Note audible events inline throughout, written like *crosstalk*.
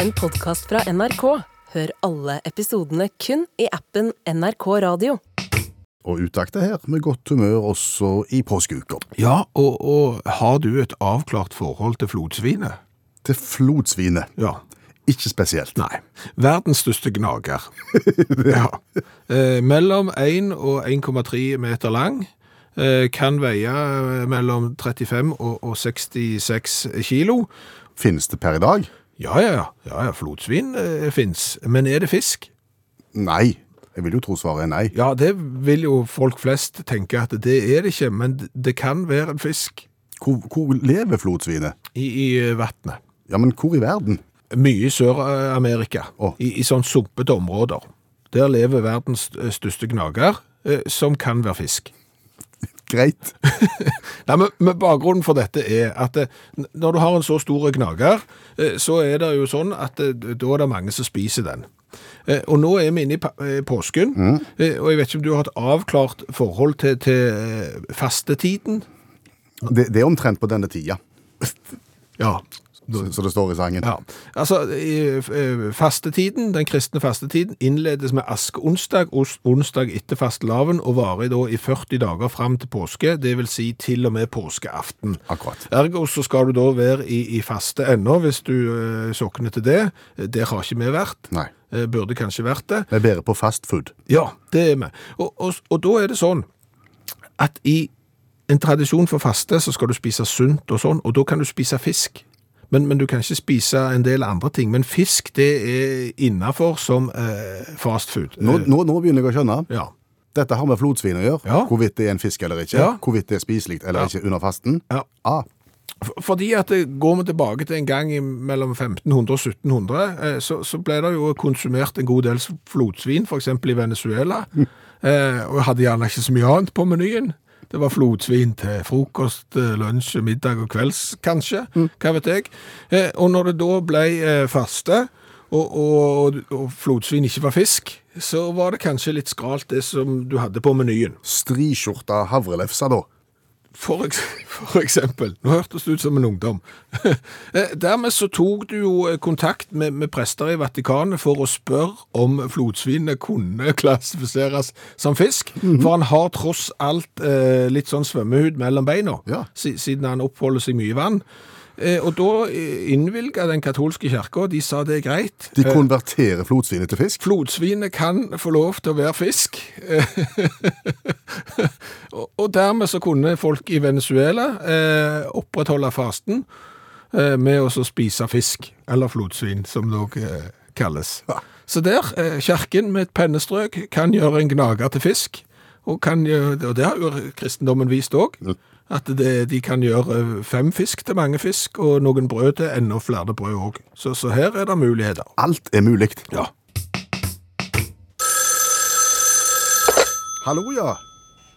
en podkast fra NRK. Hør alle episodene kun i appen NRK Radio. og utakte her med godt humør også i påskeuka. Ja, og, og har du et avklart forhold til flodsvinet? Til flodsvinet. Ja. Ikke spesielt. Nei. Verdens største gnager. ja. eh, mellom 1 og 1,3 meter lang. Eh, kan veie eh, mellom 35 og, og 66 kilo. Finnes det per i dag? Ja, ja, ja. ja, ja flodsvin eh, fins. Men er det fisk? Nei. Jeg vil jo tro svaret er nei. Ja, det vil jo folk flest tenke at det er det ikke, men det kan være en fisk Hvor, hvor lever flodsvinet? i, i eh, vannet. Ja, men hvor i verden? Mye i Sør-Amerika, Å. i, i sånn sumpete områder. Der lever verdens st- største gnager, eh, som kan være fisk. Greit. Nei, men, men Bakgrunnen for dette er at eh, n- når du har en så stor gnager, eh, så er det jo sånn at eh, da er det mange som spiser den. Eh, Og nå er vi inne i pa- eh, påsken, eh, og jeg vet ikke om du har et avklart forhold til, til eh, fastetiden? Det, det er omtrent på denne tida, Ja. så, så det står i sangen. Ja, altså i, eh, fastetiden, den kristne fastetiden, innledes med askeonsdag, os- onsdag etter fastelavn, og varer da i 40 dager fram til påske, det vil si til og med påskeaften. Akkurat. Ergo så skal du da være i, i faste ennå, hvis du eh, sokner til det. Eh, Der har ikke vi vært. Nei. Eh, Burde kanskje vært det. Vi bærer på fast food. Ja, det er vi. Og, og, og da er det sånn at i en tradisjon for faste så skal du spise sunt og sånn, og da kan du spise fisk. Men, men du kan ikke spise en del andre ting. Men fisk, det er innafor som eh, fast food. Nå, Eh, nå, nå begynner jeg å skjønne. ja. Dette har med flodsvin å gjøre. Ja. Hvorvidt det er en fisk eller ikke. Ja. Hvorvidt det er spiselig eller Ja. ikke under fasten. Ja. Ah, F- Fordi at det går vi tilbake til en gang i mellom 1500 og 1700, eh, så, så ble det jo konsumert en god del flodsvin, f.eks. i Venezuela. Eh, og hadde gjerne ikke så mye annet på menyen. Det var flodsvin til frokost, eh, lunsj, middag og kvelds, kanskje. Hva vet jeg. Eh, og når det da ble eh, faste, og, og, og flodsvin ikke var fisk, så var det kanskje litt skralt det som du hadde på menyen. Striskjorta havrelefse, da. For, eks- for eksempel, nå hørtes det ut som en ungdom. *laughs* Eh, Dermed så tok du jo eh, kontakt med, med prester i Vatikanet for å spørre om flodsvinene kunne *laughs* klassifiseres som fisk, for han har tross alt eh, litt sånn svømmehud mellom beina, Ja. si- siden han oppholder seg mye i vann. Eh, og da eh, innvilga den katolske kirka, de sa det er greit. De konverterer flodsvinet til fisk. Flodsvinet kan få lov til å være fisk. *laughs* og og dermed så kunne folk i Venezuela eh, opprettholde fasten eh, med å så spise fisk, eller flodsvin, som det også eh, kalles. Så der, eh, kjerken med et pennestrøk kan gjøre en gnager til fisk, og, kan, gjøre- og det har jo kristendommen vist også, at det, de kan gjøre eh, fem fisk til mange fisk, og noen brød til enda flere brød også. Så, så her er det muligheter. Alt er mulig. Ja. Hallo, ja.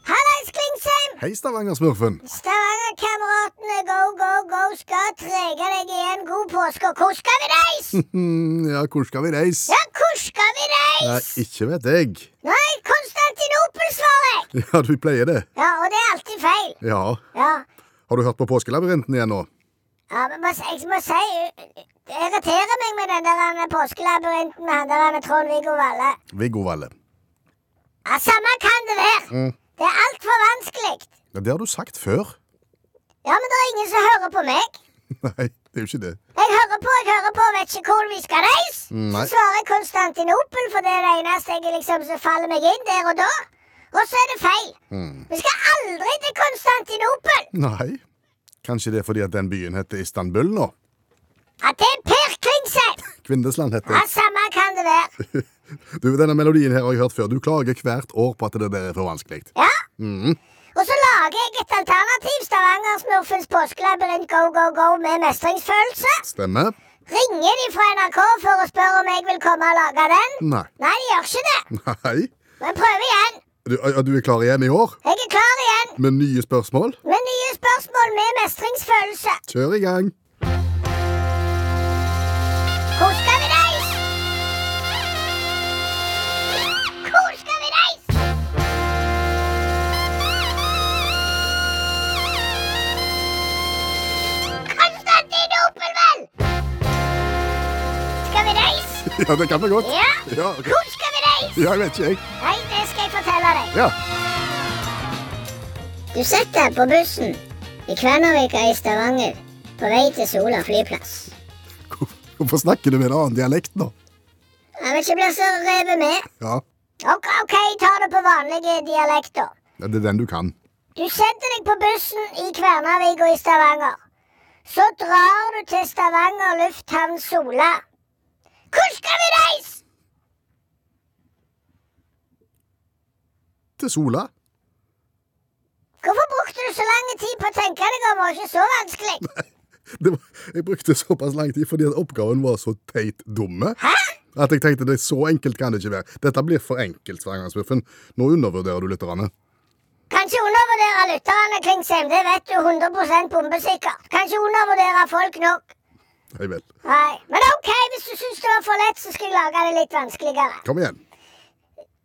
Hallais, Klingsheim! Hei, Stavanger-smurfen. Stavangerkameratene, go, go, go, skal trege deg igjen. God påske. og Hvor skal vi reise? Mm, ja, hvor skal vi reise? Ja, hvor skal vi Nei, reise? ikke vet jeg. Nei, Konstantinopel, svarer jeg. Ja, du pleier det. Ja, og det er alltid feil. Ja. Ja, Har du hørt på Påskelabyrinten igjen nå? ja men må, jeg må si Det irriterer meg med den der han, påskelabyrinten med han der han, Trond-Viggo Valle. Viggo Valle. Ja, Samme kan det være. Det er altfor vanskelig. Ja, det har du sagt før. *laughs* Ja, men det er ingen som hører på meg. Nei, det er jo ikke det. Jeg hører på, jeg hører på, vet ikke hvor vi skal reise. Nei. Så svarer jeg Konstantinopel, for det er det eneste jeg liksom som faller meg inn der og da. Og så er det feil. Vi skal aldri til Konstantinopel! Nei. Kanskje det er fordi at den byen heter Istanbul nå? Ja, det er Per Klingsheim! Kvindesland heter Ja, samme kan det være. Du, Denne melodien her har jeg hørt før. Du klager hvert år på at det der er for vanskelig. Ja. Og så lager jeg et alternativ. Stavanger-smurfens påskelabyrint go, go, go med mestringsfølelse. Stemmer? Ringer de fra NRK for å spørre om jeg vil komme og lage den? Nei. Nei, de gjør ikke det. Nei. Men prøv igjen. Du, ja, du er klar igjen i år? Jeg er klar igjen Med nye spørsmål? med nye spørsmål med mestringsfølelse. Kjør i gang. Hvor skal vi reise? Hvor skal vi reise? Konstantinopel, vel! Skal vi Ja, det kan vi godt. Ja. Ja, ok. Hvor skal vi reise? ja jeg vet ikke, jeg. Nei, det skal jeg fortelle deg. Ja. Du sitter på bussen i Kvenavika i Stavanger på vei til Sola flyplass. Hvorfor snakker du med en annen dialekt nå? Jeg vil ikke bli så revet med. Ja, Ok, ok, ta det på vanlige dialekter. Ja, det er den du kan. Du setter deg på bussen i Kvernavika i Stavanger. Så drar du til Stavanger lufthavn Sola. Hvor skal vi reise? Til Sola. Hvorfor brukte du så lang tid på å tenke deg om, og ikke så vanskelig? Det var, jeg brukte såpass lang tid fordi at oppgaven var så teit dumme. At jeg tenkte det så enkelt kan det ikke være. Dette blir for enkelt, Svangangspuffen. Nå undervurderer du lytterne. Kanskje undervurdere lytterne, Klingsheim, det vet du 100 bombesikkert. Kanskje undervurdere folk nok. Hei vel. Nei, men ok, hvis du syns det var for lett, så skal jeg lage det litt vanskeligere. Kom igjen.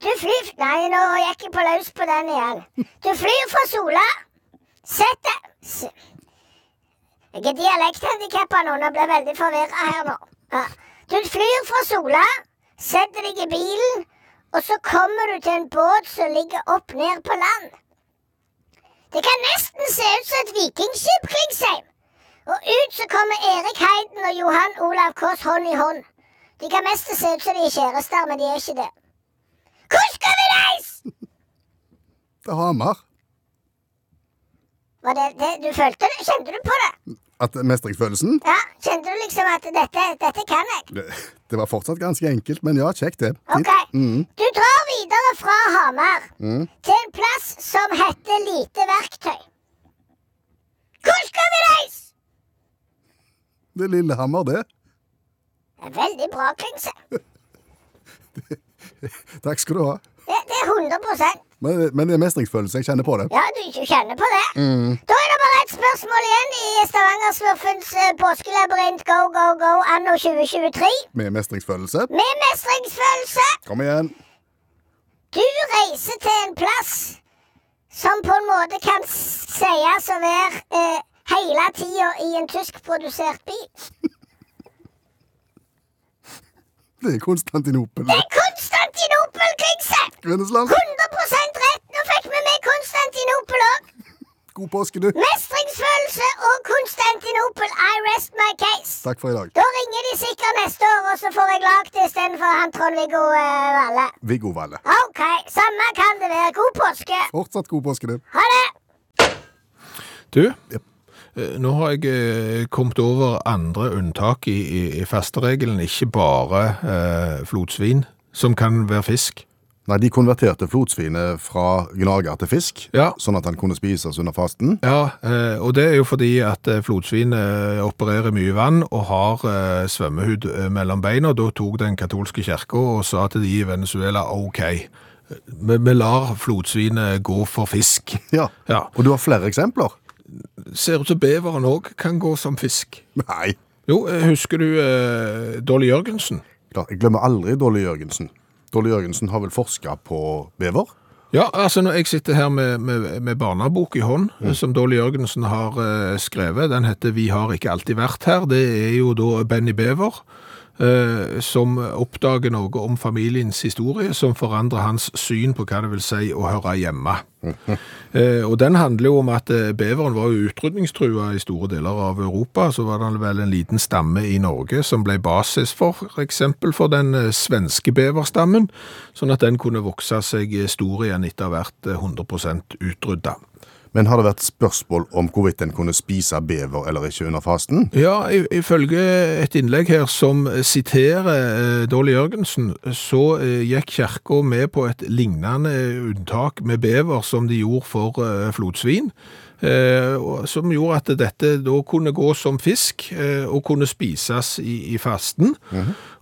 Du flyr Nei, nå gikk jeg på løs på den igjen. Du flyr fra Sola. Sett deg s- Jeg er dialekthandikappa nå, nå blir jeg veldig forvirra her nå. Ja. Du flyr fra Sola, setter deg i bilen, og så kommer du til en båt som ligger opp ned på land. Det kan nesten se ut som et vikingskip, Klingsheim. Og ut så kommer Erik Heiden og Johan Olav Kaas hånd i hånd. De kan mest se ut som de er kjærester, men de er ikke det. Hvor skal vi reise? Til Hamar. Var det, det, du følte det? Kjente du på det? At mestringsfølelsen Ja, Kjente du liksom at dette, dette kan jeg? det, det var fortsatt ganske enkelt, men ja, kjekt det. Ok. Du drar videre fra Hamar til en plass som heter Lite verktøy. Hvor skal vi reise? Det er Lillehammer, det. Det er Veldig bra, Klingse. Takk skal du ha. Det, det er 100 Men, men det er mestringsfølelse. Jeg kjenner på det. Ja, du ikke kjenner på det. Da er det bare ett spørsmål igjen i Stavangersmurfens eh, påskelabyrint go, go, go anno 2023. Med mestringsfølelse. Med mestringsfølelse. Kom igjen. Du reiser til en plass som på en måte kan sies å være eh, hele tida i en tyskprodusert bil. Det er Konstantinopel. Det er Konstantinopel, Kringse! Kvinnesland. 100 rett! Nå fikk vi med Konstantinopel òg. God påske, du. Mestringsfølelse og Konstantinopel. I rest my case. Takk for i dag. Da ringer de sikkert neste år, og så får jeg lagd det istedenfor han Trond-Viggo eh, Valle. Viggo Valle. OK, samme kan det være. God påske. Fortsatt god påske, du. Ha det. Du, eh, nå har jeg eh, kommet over andre unntak i, i, i fasteregelen, ikke bare eh, flotsvin, som kan være fisk. Nei, De konverterte flotsvinet fra gnager til fisk, Ja. sånn at han kunne spises under fasten. Ja, eh, og det er jo fordi at eh, flotsvin eh, opererer mye vann og har eh, svømmehud eh, mellom beina. Da tok den katolske kirka og sa til de i Venezuela OK, vi, vi lar flotsvinet gå for fisk. Ja. Ja. Og du har flere eksempler? Ser ut som beveren òg kan gå som fisk. Nei. Jo, eh, husker du eh, Dolly Jørgensen? Klart, Jeg glemmer aldri Dolly Jørgensen. Dolly Jørgensen har vel forska på bever? Ja, altså når jeg sitter her med, med, med barnebok i hånd, eh, som Dolly Jørgensen har eh, skrevet, den heter «Vi har ikke alltid vært her», det er jo da Benny Bever, eh, som oppdager noe om familiens historie, som forandrer hans syn på hva det vil si å høre hjemme. Eh, og den handler jo om at eh, beveren var jo utrydningstrua i store deler av Europa, så var det vel en liten stamme i Norge som ble basis for for eksempel for den eh, svenske beverstammen, sånn at den kunne vokse seg eh, stor igjen etter hvert eh, 100% utrydda. Men har det vært spørsmål om hvorvidt en kunne spise bever eller ikke under fasten? Ja, i- ifølge et innlegg her som siterer eh, Dolly Jørgensen, så eh, gikk kirka med på et lignende unntak med bever som de gjorde for eh, flotsvin, eh, og- som gjorde at dette da kunne gå som fisk eh, og kunne spises i, i fasten.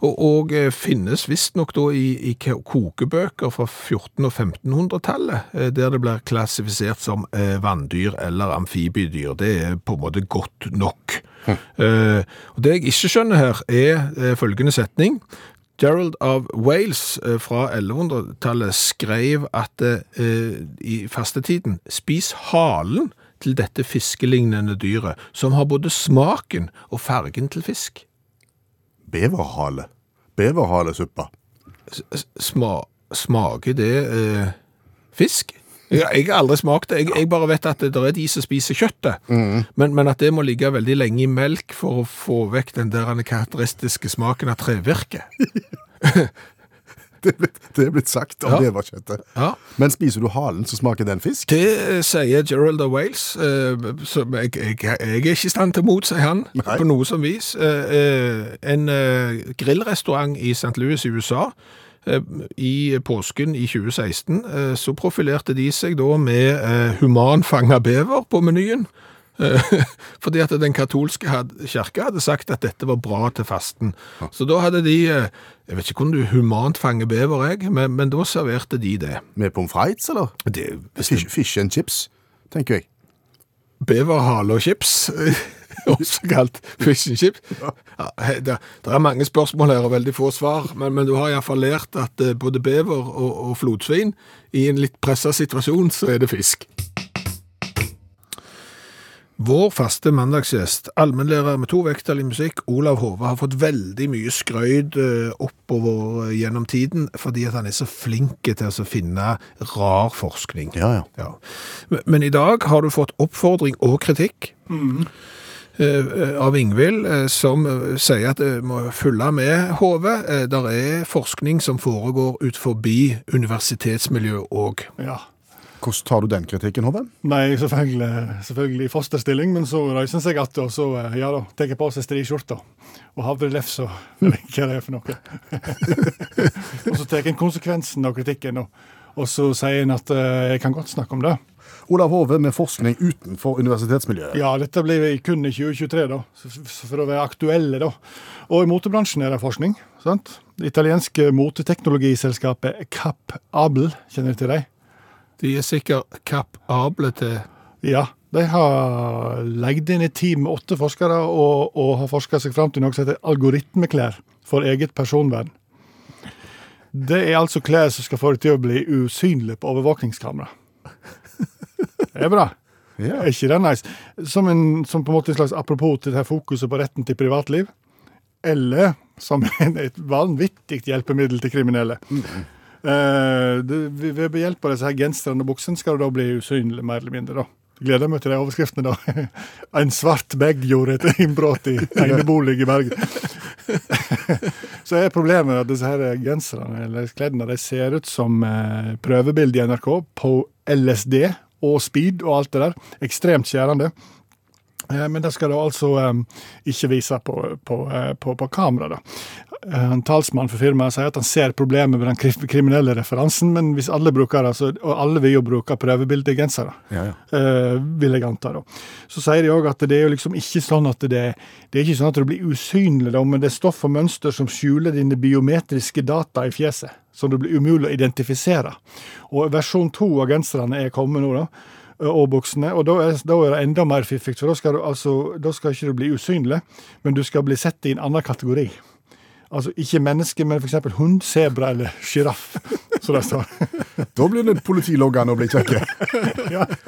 Og, og eh, finnes visstnok da i, i ke- kokebøker fra 1400- og 1500-tallet, eh, der det blir klassifisert som eh, vanndyr eller amfibiedyr. Det er på en måte godt nok. Eh, og det jeg ikke skjønner her, er eh, følgende setning. Gerald of Wales eh, fra 1100-tallet skrev at eh, i fastetiden spis halen til dette fiskelignende dyret, som har både smaken og fargen til fisk. Beverhale. beverhalesuppa. Sma, smaker det eh, fisk? Jeg, jeg har aldri smakt det. Jeg, jeg bare vet at det, der er de som spiser kjøttet. Men, men at det må ligge veldig lenge i melk for å få vekk den der karakteristiske smaken av trevirke. Det er blitt, det er blitt sagt om Ja. beverkjøttet. Ja. Men spiser du halen, så smaker den fisk. Det eh, sier Gerald of Wales, eh, som jeg, jeg, jeg er ikke i stand til mot, sier han, Nei. på noe som vis. Eh, eh, En eh, grillrestaurant i St. Louis i USA eh, i påsken i 2016, eh, så profilerte de seg da med eh, humanfanga bever på menyen. Eh, *laughs* Fordi at den katolske had- kirka hadde sagt at dette var bra til fasten. Så da hadde de eh, Jeg vet ikke om du humant fanger bever, jeg, men, men da serverte de det. Med pommes frites, eller? det hvis Fish, fish and chips, tenker jeg. Beverhale og chips, også kalt fish and chips. Ja, he- det, det er mange spørsmål her og veldig få svar, men, men du har iallfall lært at eh, både bever og, og flodsvin i en litt pressa situasjon, så er det fisk. Vår faste mandagsgjest, allmennlærer med to vekttall i musikk, Olav Hove, har fått veldig mye skrøyd eh, oppover eh, gjennom tiden fordi at han er så flink til å finne rar forskning. Ja, ja. Ja. Men- Men i dag har du fått oppfordring og kritikk eh, av Ingvild, eh, som eh, sier at du må følge med hodet. Eh, Der er forskning som foregår ut forbi universitetsmiljø òg. Ja. Hvordan tar du den kritikken, Hove? Nei, selvfølgelig, selvfølgelig i fosterstilling, men så reiser en seg igjen, og så eh, ja da, tar på seg striskjorta og havrelefs og *laughs* eller hva det er for noe. og så tar en konsekvensen av kritikken, og, og så sier en at eh, jeg kan godt snakke om det. Olav Hove med forskning utenfor universitetsmiljøet. Ja, dette blir vi kun i 2023, da, s- s- for å være aktuelle, da. Og i motebransjen er det forskning. sant? Det italienske moteteknologiselskapet Cap Abel, kjenner du til dem? De er sikkert kapable til Ja, de har legget inn et team med åtte forskere og, og har forska seg fram til noe som heter algoritmeklær for eget personvern. Det er altså klær som skal få deg til å bli usynlig på overvåkingskamera. Det er bra. Ja. Er ikke det nice? Som, en, som på en måte en slags apropos til det her fokuset på retten til privatliv. Eller som en, et vanvittig hjelpemiddel til kriminelle. Eh, det, ved- ved hjelp av disse her genserne og buksene skal du da bli usynlig, mer eller mindre. da. Gleder meg til de overskriftene, da. *laughs* En svart bag gjorde et innbrudd i enebolig i Bergen. Så er problemet at disse her genserne eller kleddene de ser ut som eh, prøvebilde i NRK på LSD og speed og alt det der. Ekstremt skjærende. Eh, Men det skal da altså eh, ikke vise på, på, eh, på, på kamera. da. Eh, En talsmann for firmaet sier at han ser problemet med den kri- kriminelle referansen, men hvis alle bruker det, så, og alle vil jo bruke prøvebilde i gensere, Ja, ja. eh, vil jeg anta. da. Så sier de òg at det er jo liksom ikke sånn at det, det er ikke sånn at du blir usynlig, da, men det er stoff og mønster som skjuler dine biometriske data i fjeset, som det blir umulig å identifisere. Og versjon to av genserne er kommet nå, da. eh, Og buksene. Og da er, da er det enda mer fiffig, for da skal du altså, da skal ikke du bli usynlig, men du skal bli sett i en annen kategori. Altså ikke menneske, men f.eks. hund, sebra eller sjiraff, *laughs* som det står. Da blir det politiloggene og blir kjekke.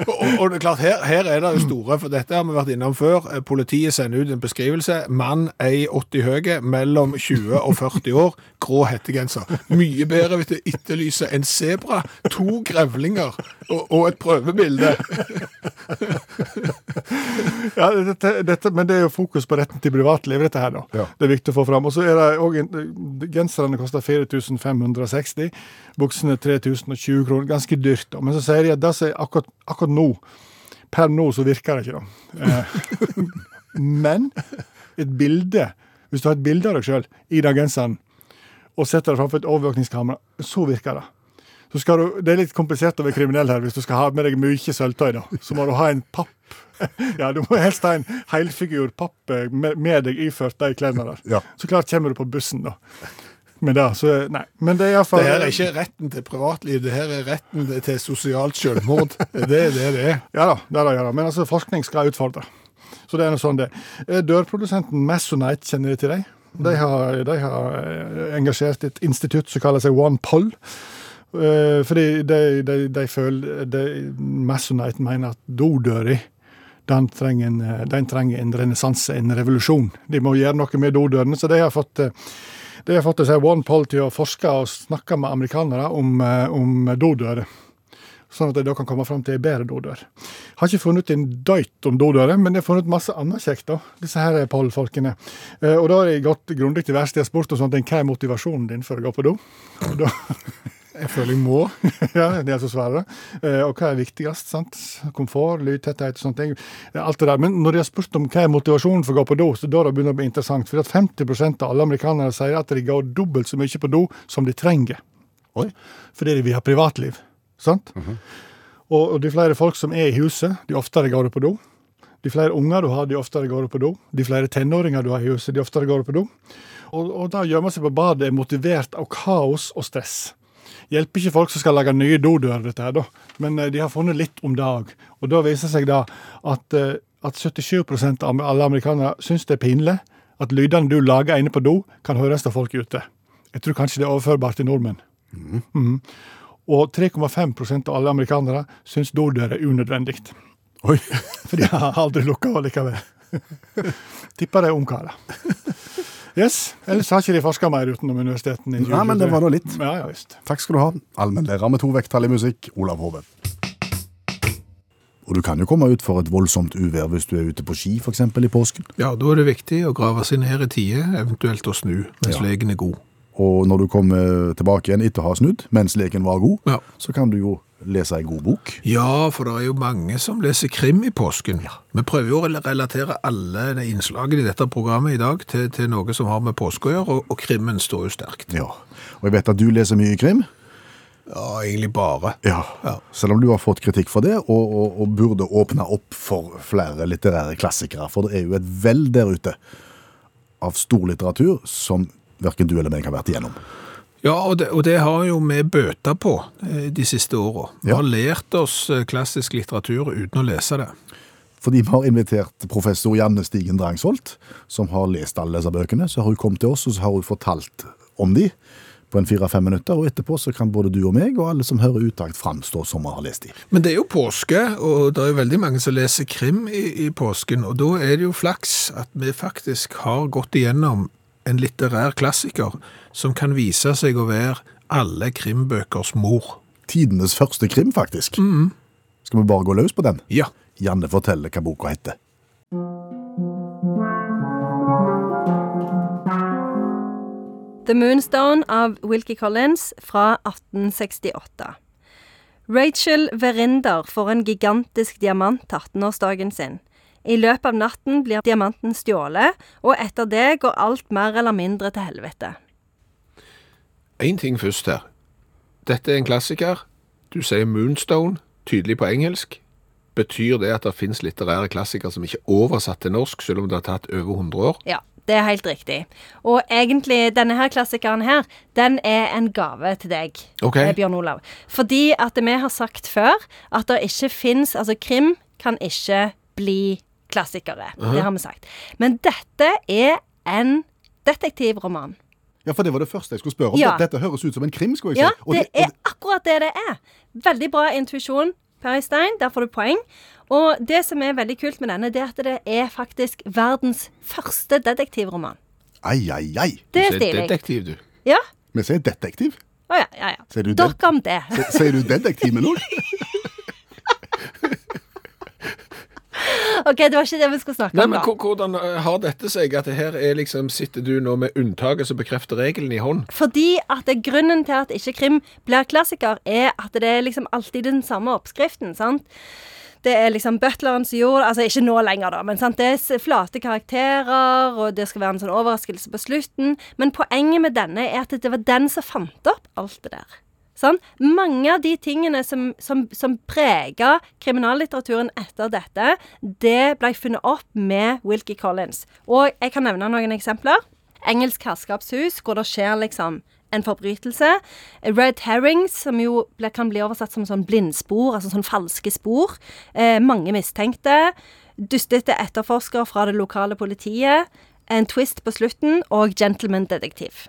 Og, og det er klart, her, her er det jo store, for dette har vi vært innom før. Eh, Politiet sender ut en beskrivelse. Mann 1,80 høye, mellom 20 og 40 år, grå hettegenser. Mye bedre hvis det etterlyser en sebra, to grevlinger og, og et prøvebilde. Ja, dette, dette, men det er jo fokus på retten til privatliv, dette her, da. Ja. Det er viktig å få fram. Og så er det òg en- eh, Genserne koster 4560, buksene 3020 kroner. Ganske dyrt, da. Men så sier de at det som er akkurat, akkurat nå, per nå, så virker det ikke, da. Eh, men et bilde Hvis du har et bilde av deg sjøl i den genseren, og setter det framfor et overvåkningskamera, så virker det. Så skal du, det er litt komplisert å være kriminell her hvis du skal ha med deg mye sølvtøy. da. Så må du ha en papp. *laughs* Ja, du må helst ha en helfigur papp eh, med, med deg iført de klærne der. Ja. Så klart kommer du på bussen, da. Men det, så, nei. Men det er iallfall Det her er ikke retten til privatliv, det her er retten til sosialt selvmord. Det er det det er. Ja da, det er det, ja da. men altså, forskning skal utfordre. Så det er noe sånn det. Eh, Dørprodusenten Masonite, kjenner de til deg? Mm. De har, de har eh, engasjert et institutt som kaller seg OnePoll. Eh, Fordi de, de, de føler de, Masonite mener at dodøra den trenger en, eh, den trenger en renessanse, en revolusjon. De må gjøre noe med dodørene, så de har fått eh, Det har fått til å si One Poll til å forske og snakke med amerikanere om, eh, om dodører. Sånn at de da kan komme fram til en bedre dodør. Har ikke funnet ut en døyt om dodører, men de har funnet masse annet kjekt, da. Disse her pollfolkene. Eh, Og da har jeg gått grundig til verks. De har spurt om sånt, hva er motivasjonen din for å gå på do? Og da *laughs* Jeg føler jeg må. *laughs* ja, det er altså svaret. Eh, og hva er viktigst? sant? Komfort, lydtetthet og sånne ting. Eh, Alt det der. Men når de har spurt om hva er motivasjonen for å gå på do, så da det begynner det å bli interessant. For at 50 av alle amerikanere sier at de går dobbelt så mye på do som de trenger. Oi. Fordi de vil ha privatliv. sant? og, og de flere folk som er i huset, de oftere går du på do. De flere unger du har, de oftere går du på do. De flere tenåringer du har i huset, de oftere går du på do. Og, og da gjemmer seg på badet er motivert av kaos og stress hjelper ikke folk som skal lage nye dodører, dette her, da. Men eh, de har funnet litt om det òg. Og da viser det seg da at, eh, at 77 av alle amerikanere syns det er pinlig at lydene du lager inne på do, kan høres av folk ute. Jeg tror kanskje det er overførbart til nordmenn. Mm. Mhm. Og 3,5 av alle amerikanere syns dodører er unødvendig. Oi. *laughs* For de har aldri lukka likevel. *laughs* Tipper de er ungkarer. Yes. Ellers har ikke de forska mer utenom universitetene. i Nei, men det 2023. var da litt. Ja, ja, visst. Takk skal du ha, allmennlærer med to vekttall i musikk, Olav Hove. Og du kan jo komme ut for et voldsomt uvær hvis du er ute på ski, f.eks. i påsken. Ja, da er det viktig å grave seg ned i tide, eventuelt å snu mens legen er god. Og når du kommer tilbake igjen etter å ha snudd, mens leken var god, Ja. så kan du jo lese ei god bok. Ja, for det er jo mange som leser krim i påsken. Vi prøver jo å relatere alle de innslagene i dette programmet i dag til, til noe som har med påske å gjøre, og, og krimmen står jo sterkt. Ja. Og jeg vet at du leser mye krim. Ja, egentlig bare. Ja. Selv om du har fått kritikk for det, og, og, og burde åpne opp for flere litterære klassikere. For det er jo et vell der ute av storlitteratur som verken du eller meg har vært igjennom. Ja, og det, og det har jo vi bøta på eh, de siste åra. Vi Ja. har lært oss eh, klassisk litteratur uten å lese det. Fordi vi har invitert professor Janne Stigen Drangsholt, som har lest alle disse bøkene. Så har hun kommet til oss, og så har hun fortalt om de på en fire-fem minutter. Og etterpå så kan både du og meg, og alle som hører utakt, framstå som vi har lest de. Men det er jo påske, og det er jo veldig mange som leser krim i, i påsken, og da er det jo flaks at vi faktisk har gått igjennom en litterær klassiker som kan vise seg å være alle krimbøkers mor. Tidenes første krim, faktisk. Skal vi bare gå løs på den? Ja. Janne forteller hva boka heter. The Moonstone av Wilkie Collins fra 1868. Rachel Verinder får en gigantisk diamant til 18-årsdagen sin. I løpet av natten blir diamanten stjålet, og etter det går alt mer eller mindre til helvete. Én ting først her. Dette er en klassiker. Du sier Moonstone, tydelig på engelsk. Betyr det at det finnes litterære klassikere som ikke er oversatt til norsk, selv om det har tatt over 100 år? Ja, det er helt riktig. Og egentlig, denne her klassikeren her, den er en gave til deg, Ok. eh, Bjørn Olav. Fordi at vi har sagt før at det ikke fins Altså, krim kan ikke bli klassikere. Det har vi sagt. Men dette er en detektivroman. Ja, for det var det første jeg skulle spørre om. Ja. Dette høres ut som en krim, skulle jeg Ja, si. Og det det- er akkurat det det er. Veldig bra intuisjon, Per Øystein. Der får du poeng. Og det som er veldig kult med denne, det er at det er faktisk verdens første detektivroman. Ai, ai, ai. Det er Du sier stilig. detektiv, du. Ja, Vi sier detektiv. Å ja, ja, ja. Sier du det? Dere om det. Sier du detektiv nå? *laughs* OK, det var ikke det vi skulle snakke Nei, om, men da. hvor- Hvordan eh, har dette seg? At det her er liksom, Sitter du nå med unntaket som bekrefter regelen i hånd? Fordi at det, grunnen til at ikke krim blir klassiker, er at det er liksom alltid den samme oppskriften, sant? Det er liksom butleren som gjorde Altså, ikke nå lenger, da, men sant? det er s- flate karakterer, og det skal være en sånn overraskelse på slutten. Men poenget med denne er at det var den som fant opp alt det der. Sant? Mange av de tingene som, som, som prega kriminallitteraturen etter dette, det ble funnet opp med Wilkie Collins. Og jeg kan nevne noen eksempler. Engelsk herskapshus, hvor det skjer liksom en forbrytelse. Red herrings, som jo ble, kan bli oversatt som sånn blindspor, altså sånn falske spor. Eh, mange mistenkte. Dustete etterforskere fra det lokale politiet. En twist på slutten, og gentleman-detektiv.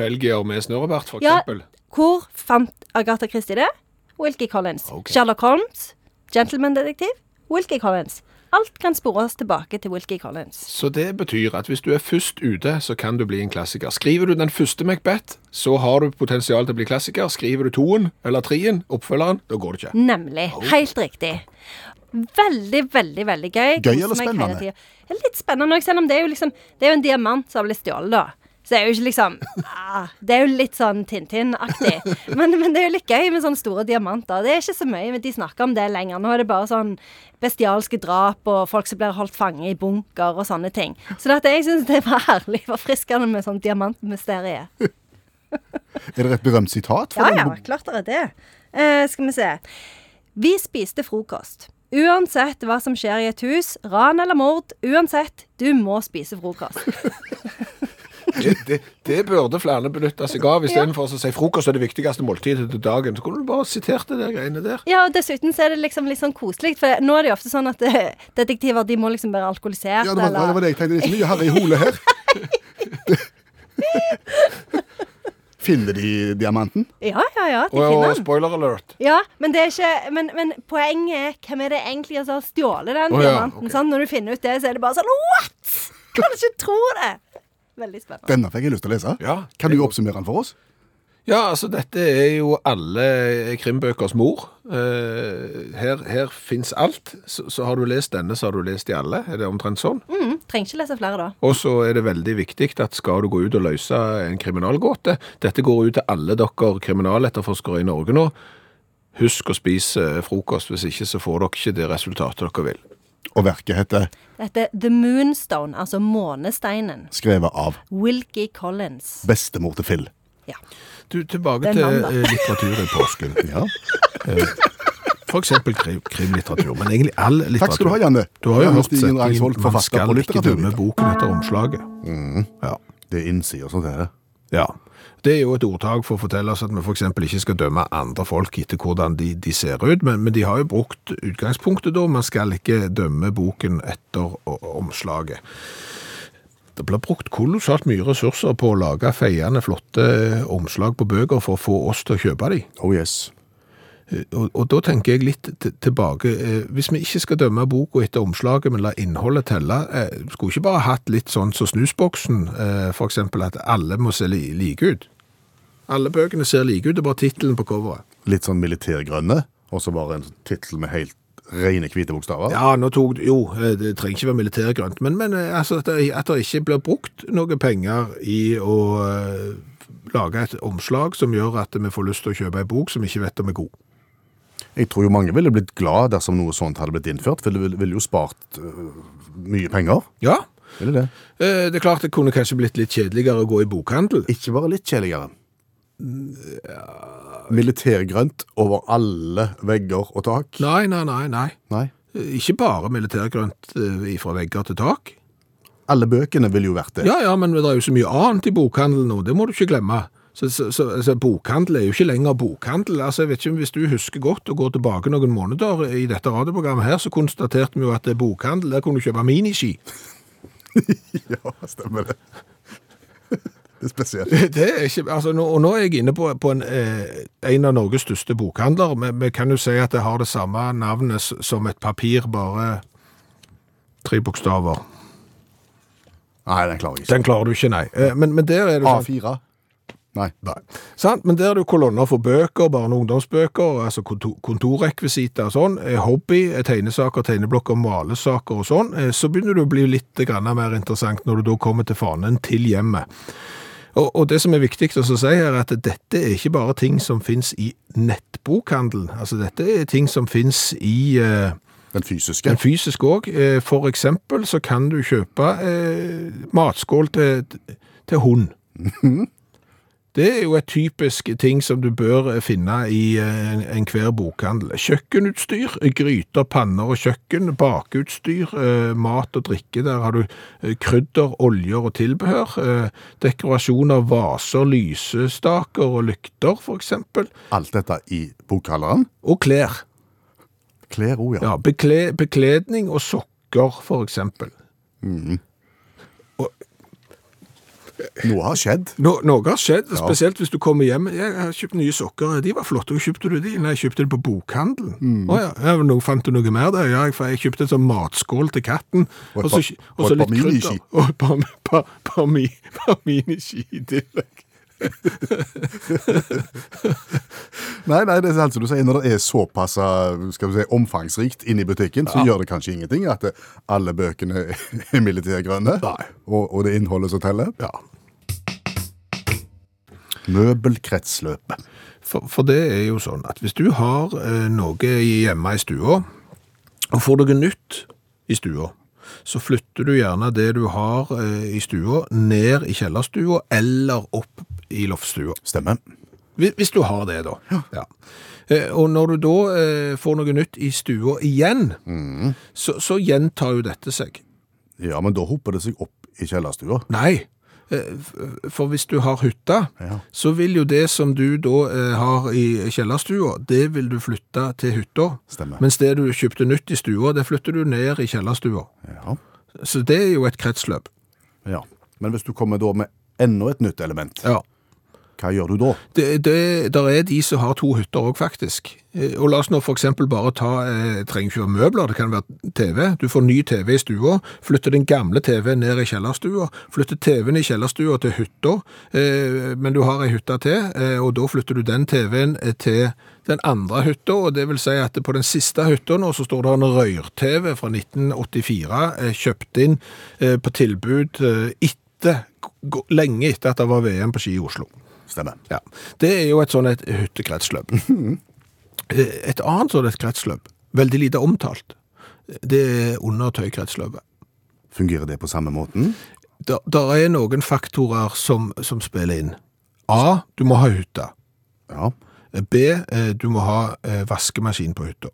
Belgier med snørrebart, for Ja, eksempel. hvor fant Agatha Christie det? Wilkie Collins. Ok. Sherlock Holmes, gentleman-detektiv. Wilkie Collins. Alt kan spores tilbake til Wilkie Collins. Så det betyr at hvis du er først ute, så kan du bli en klassiker. Skriver du den første Macbeth, så har du potensial til å bli klassiker. Skriver du toen eller treen, oppfølgeren, da går *laughs* det ikke. Nemlig. Helt riktig. Veldig, veldig veldig gøy. Gøy Koser eller meg hele spennende? tiden. Det er litt spennende òg, selv om det er jo liksom Det er jo en diamant som har blitt stjålet, da. Så det er jo ikke liksom *laughs* ah, Det er jo litt sånn Tintin-aktig. *laughs* Men, men det er jo litt gøy med sånne store diamanter. Det er ikke så mye men de snakker om det lenger. Nå er det bare sånn bestialske drap og folk som blir holdt fange i bunker og sånne ting. Så det at jeg syns det var herlig forfriskende med sånn diamantmysterium. Er det et berømt sitat? fra Ja, den ja, boken? klart det er det. Eh, skal vi se. Vi spiste frokost. Uansett hva som skjer i et hus, ran eller mord, uansett, du må spise frokost. Det, det, det burde flere benytte seg av istedenfor å si frokost er det viktigste måltidet til dagen. Så kunne du bare sitert det der greiene der. Ja, og dessuten så er det liksom litt sånn koselig, for nå er det jo ofte sånn at eh, detektiver de må liksom være alkoholisert, Ja, det var, eller det var det jeg tenkte. Det er ikke mye Harry Hole her. *laughs* Finner de diamanten? Ja, ja, ja, de Og, finner og den. spoiler alert. Ja, men det er ikke Men, men poenget er hvem er det egentlig som har stjålet den Å, ja, diamanten? ok. sant? Når du finner ut det, så er det bare sånn What?! Kan ikke tro det! Veldig spennende. Denne fikk jeg lyst til å lese. Ja. Kan du oppsummere den for oss? Ja, altså dette er jo alle krimbøkers mor. Eh, her her fins alt. Så, så har du lest denne, så har du lest de alle. Er det omtrent sånn? Mm, trenger ikke lese flere da. Og så er det veldig viktig at skal du gå ut og løse en kriminalgåte Dette går ut til alle dere kriminaletterforskere i Norge nå. Husk å spise eh, frokost, hvis ikke så får dere ikke det resultatet dere vil. Og verket heter Dette er The Moonstone, altså månesteinen. Skrevet av Wilkie Collins. bestemor til Phil. Ja. Du, tilbake Den til mandag. eh, litteratur i påsken. Ja. For eksempel krim, krimlitteratur, men egentlig all litteratur. Takk skal du ha, Janne. Du har jo Janne hørt Stigen setningen, Rangsvold, man forfatter skal på ikke dømme litteraturviter. boken etter omslaget. Ja. Det er innsida som er det. Ja. Det er jo et ordtak for å fortelle oss at vi f.eks. ikke skal dømme andre folk etter hvordan de, de ser ut, men, men de har jo brukt utgangspunktet da. Man skal ikke dømme boken etter o- omslaget. Det blir brukt kolossalt mye ressurser på å lage feiende flotte eh, omslag på bøker for å få oss til å kjøpe de. Oh yes. Og, og da tenker jeg litt t- tilbake. eh, Hvis vi ikke skal dømme boka etter omslaget, men la innholdet telle, eh, skulle ikke bare hatt litt sånn som Snusboksen, eh, for eksempel, at alle må se li- like ut? Alle bøkene ser like ut, det er bare tittelen på coveret. Litt sånn militærgrønne, og så bare en tittel med helt rene hvite bokstaver. Ja, nå tok du Jo, eh, det trenger ikke være militærgrønt, men, men eh, altså, at, det, at det ikke blir brukt noen penger i å eh, lage et omslag som gjør at vi får lyst til å kjøpe ei bok som vi ikke vet om er god. Jeg tror jo mange ville blitt glad dersom noe sånt hadde blitt innført, for det ville, ville jo spart øh, mye penger. Ja, Ville det? eh, det er klart det kunne kanskje blitt litt kjedeligere å gå i bokhandel. Ikke bare litt kjedeligere. Militærgrønt over alle vegger og tak. Nei, nei, nei, nei. Nei. Ikke bare militærgrønt fra vegger til tak. Alle bøkene ville jo vært det. Ja, ja, men det er jo så mye annet i bokhandel nå, det må du ikke glemme. Så, så, så altså, bokhandel er jo ikke lenger bokhandel. Altså, jeg vet ikke om hvis du husker godt og går tilbake noen måneder i dette radioprogrammet her, så konstaterte vi jo at det er bokhandel, der kunne du kjøpe miniski. *laughs* *laughs* Ja, stemmer det. *laughs* Det er spesielt. Det er ikke, altså, nå, og nå er jeg inne på, på en, eh, en av Norges største bokhandler. Vi, vi kan jo si at det har det samme navnet s- som et papir, bare tre bokstaver. Nei, den klarer jeg ikke. Den klarer du ikke, nei. Eh, Men, men der er det sånn A4? Nei. Nei. Sant? Men der er det jo kolonner for bøker, barne- og ungdomsbøker, altså kontor kontorrekvisitter og sånn, eh, hobby, eh, tegnesaker, tegneblokker, malesaker og sånn, eh, så begynner det å bli litt grann mer interessant når du da kommer til fanen til hjemmet. Og, og det som er viktig å så si her, er at dette er ikke bare ting som finnes i nettbokhandel, altså dette er ting som finnes i... Eh, Den fysiske? den fysiske òg. eh, For eksempel så kan du kjøpe eh, matskål til, til hund. Det er jo et typisk ting som du bør finne i eh, enhver bokhandel. Kjøkkenutstyr, gryter, panner og kjøkken, bakeutstyr, eh, mat og drikke. Der har du eh, krydder, oljer og tilbehør. eh, Dekorasjoner, vaser, lysestaker og lykter, for eksempel. Alt dette i bokhandleren? Og klær. Klær òg, ja. Ja, bekle, bekledning og sokker, for eksempel. Og, Noe har skjedd. No, noe har skjedd, spesielt hvis du kommer hjem. Jeg har kjøpt nye sokker. De var flotte. Hvor kjøpte du de? Nei, jeg kjøpte dem på bokhandelen. Å ja, ja, men nå fant du noe mer der? Ja, jeg- for jeg kjøpte en sånn matskål til katten. Og et så- par- og et så litt parmini-ski. krydder. Og et par- par- parmi- parmini-ski i tillegg. Nei, nei, det er altså du sier, når det er såpass eh, skal vi si, omfangsrikt inne i butikken, så gjør det kanskje ingenting at eh, alle bøkene er *laughs* militærgrønne, Nei. og, og det er innholdet som teller. Ja. Møbelkretsløpet. For, for det er jo sånn at hvis du har eh, noe hjemme i stua, og får noe nytt i stua, så flytter du gjerne det du har eh, i stua, ned i kjellerstua eller opp i loftstua. Stemmer. Hvis hvis du har det, da. Ja. Eh, Og når du da eh, får noe nytt i stua igjen, Mm. så, så gjentar jo dette seg. Ja, men da hopper det seg opp i kjellerstua. Nei, eh, f- for hvis du har hytta, Ja. så vil jo det som du da eh, har i kjellerstua, det vil du flytte til hytta. Stemmer. Mens det du kjøpte nytt i stua, det flytter du ned i kjellerstua. Ja. Så det er jo et kretsløp. ja. Men hvis du kommer da med enda et nytt element, Ja. hva gjør du da? Det, det, der er de som har to hytter òg, faktisk. Eh, Og la oss nå f.eks. bare ta eh, trenger ikke være møbler, det kan være TV. Du får ny TV i stua, flytter den gamle TV-en ned i kjellerstua, flytter TV-en i kjellerstua til hytta, eh, men du har ei hytte til, eh, og da flytter du den TV-en eh, til den andre hytta, og det vil si at på den siste hytta nå så står det en rør-TV fra 1984, eh, kjøpt inn eh, på tilbud eh, etter, g- lenge etter at det var VM på ski i Oslo. Stemmer. Ja. Det er jo et sånn et hyttekretsløp. *laughs* Eh, Et annet sånn et kretsløp, veldig lite omtalt, det er undertøykretsløpet. Fungerer det på samme måten? Der, der er noen faktorer som, som spiller inn. A. Du må ha hytte. Ja. B. eh, Du må ha eh, vaskemaskin på hytta.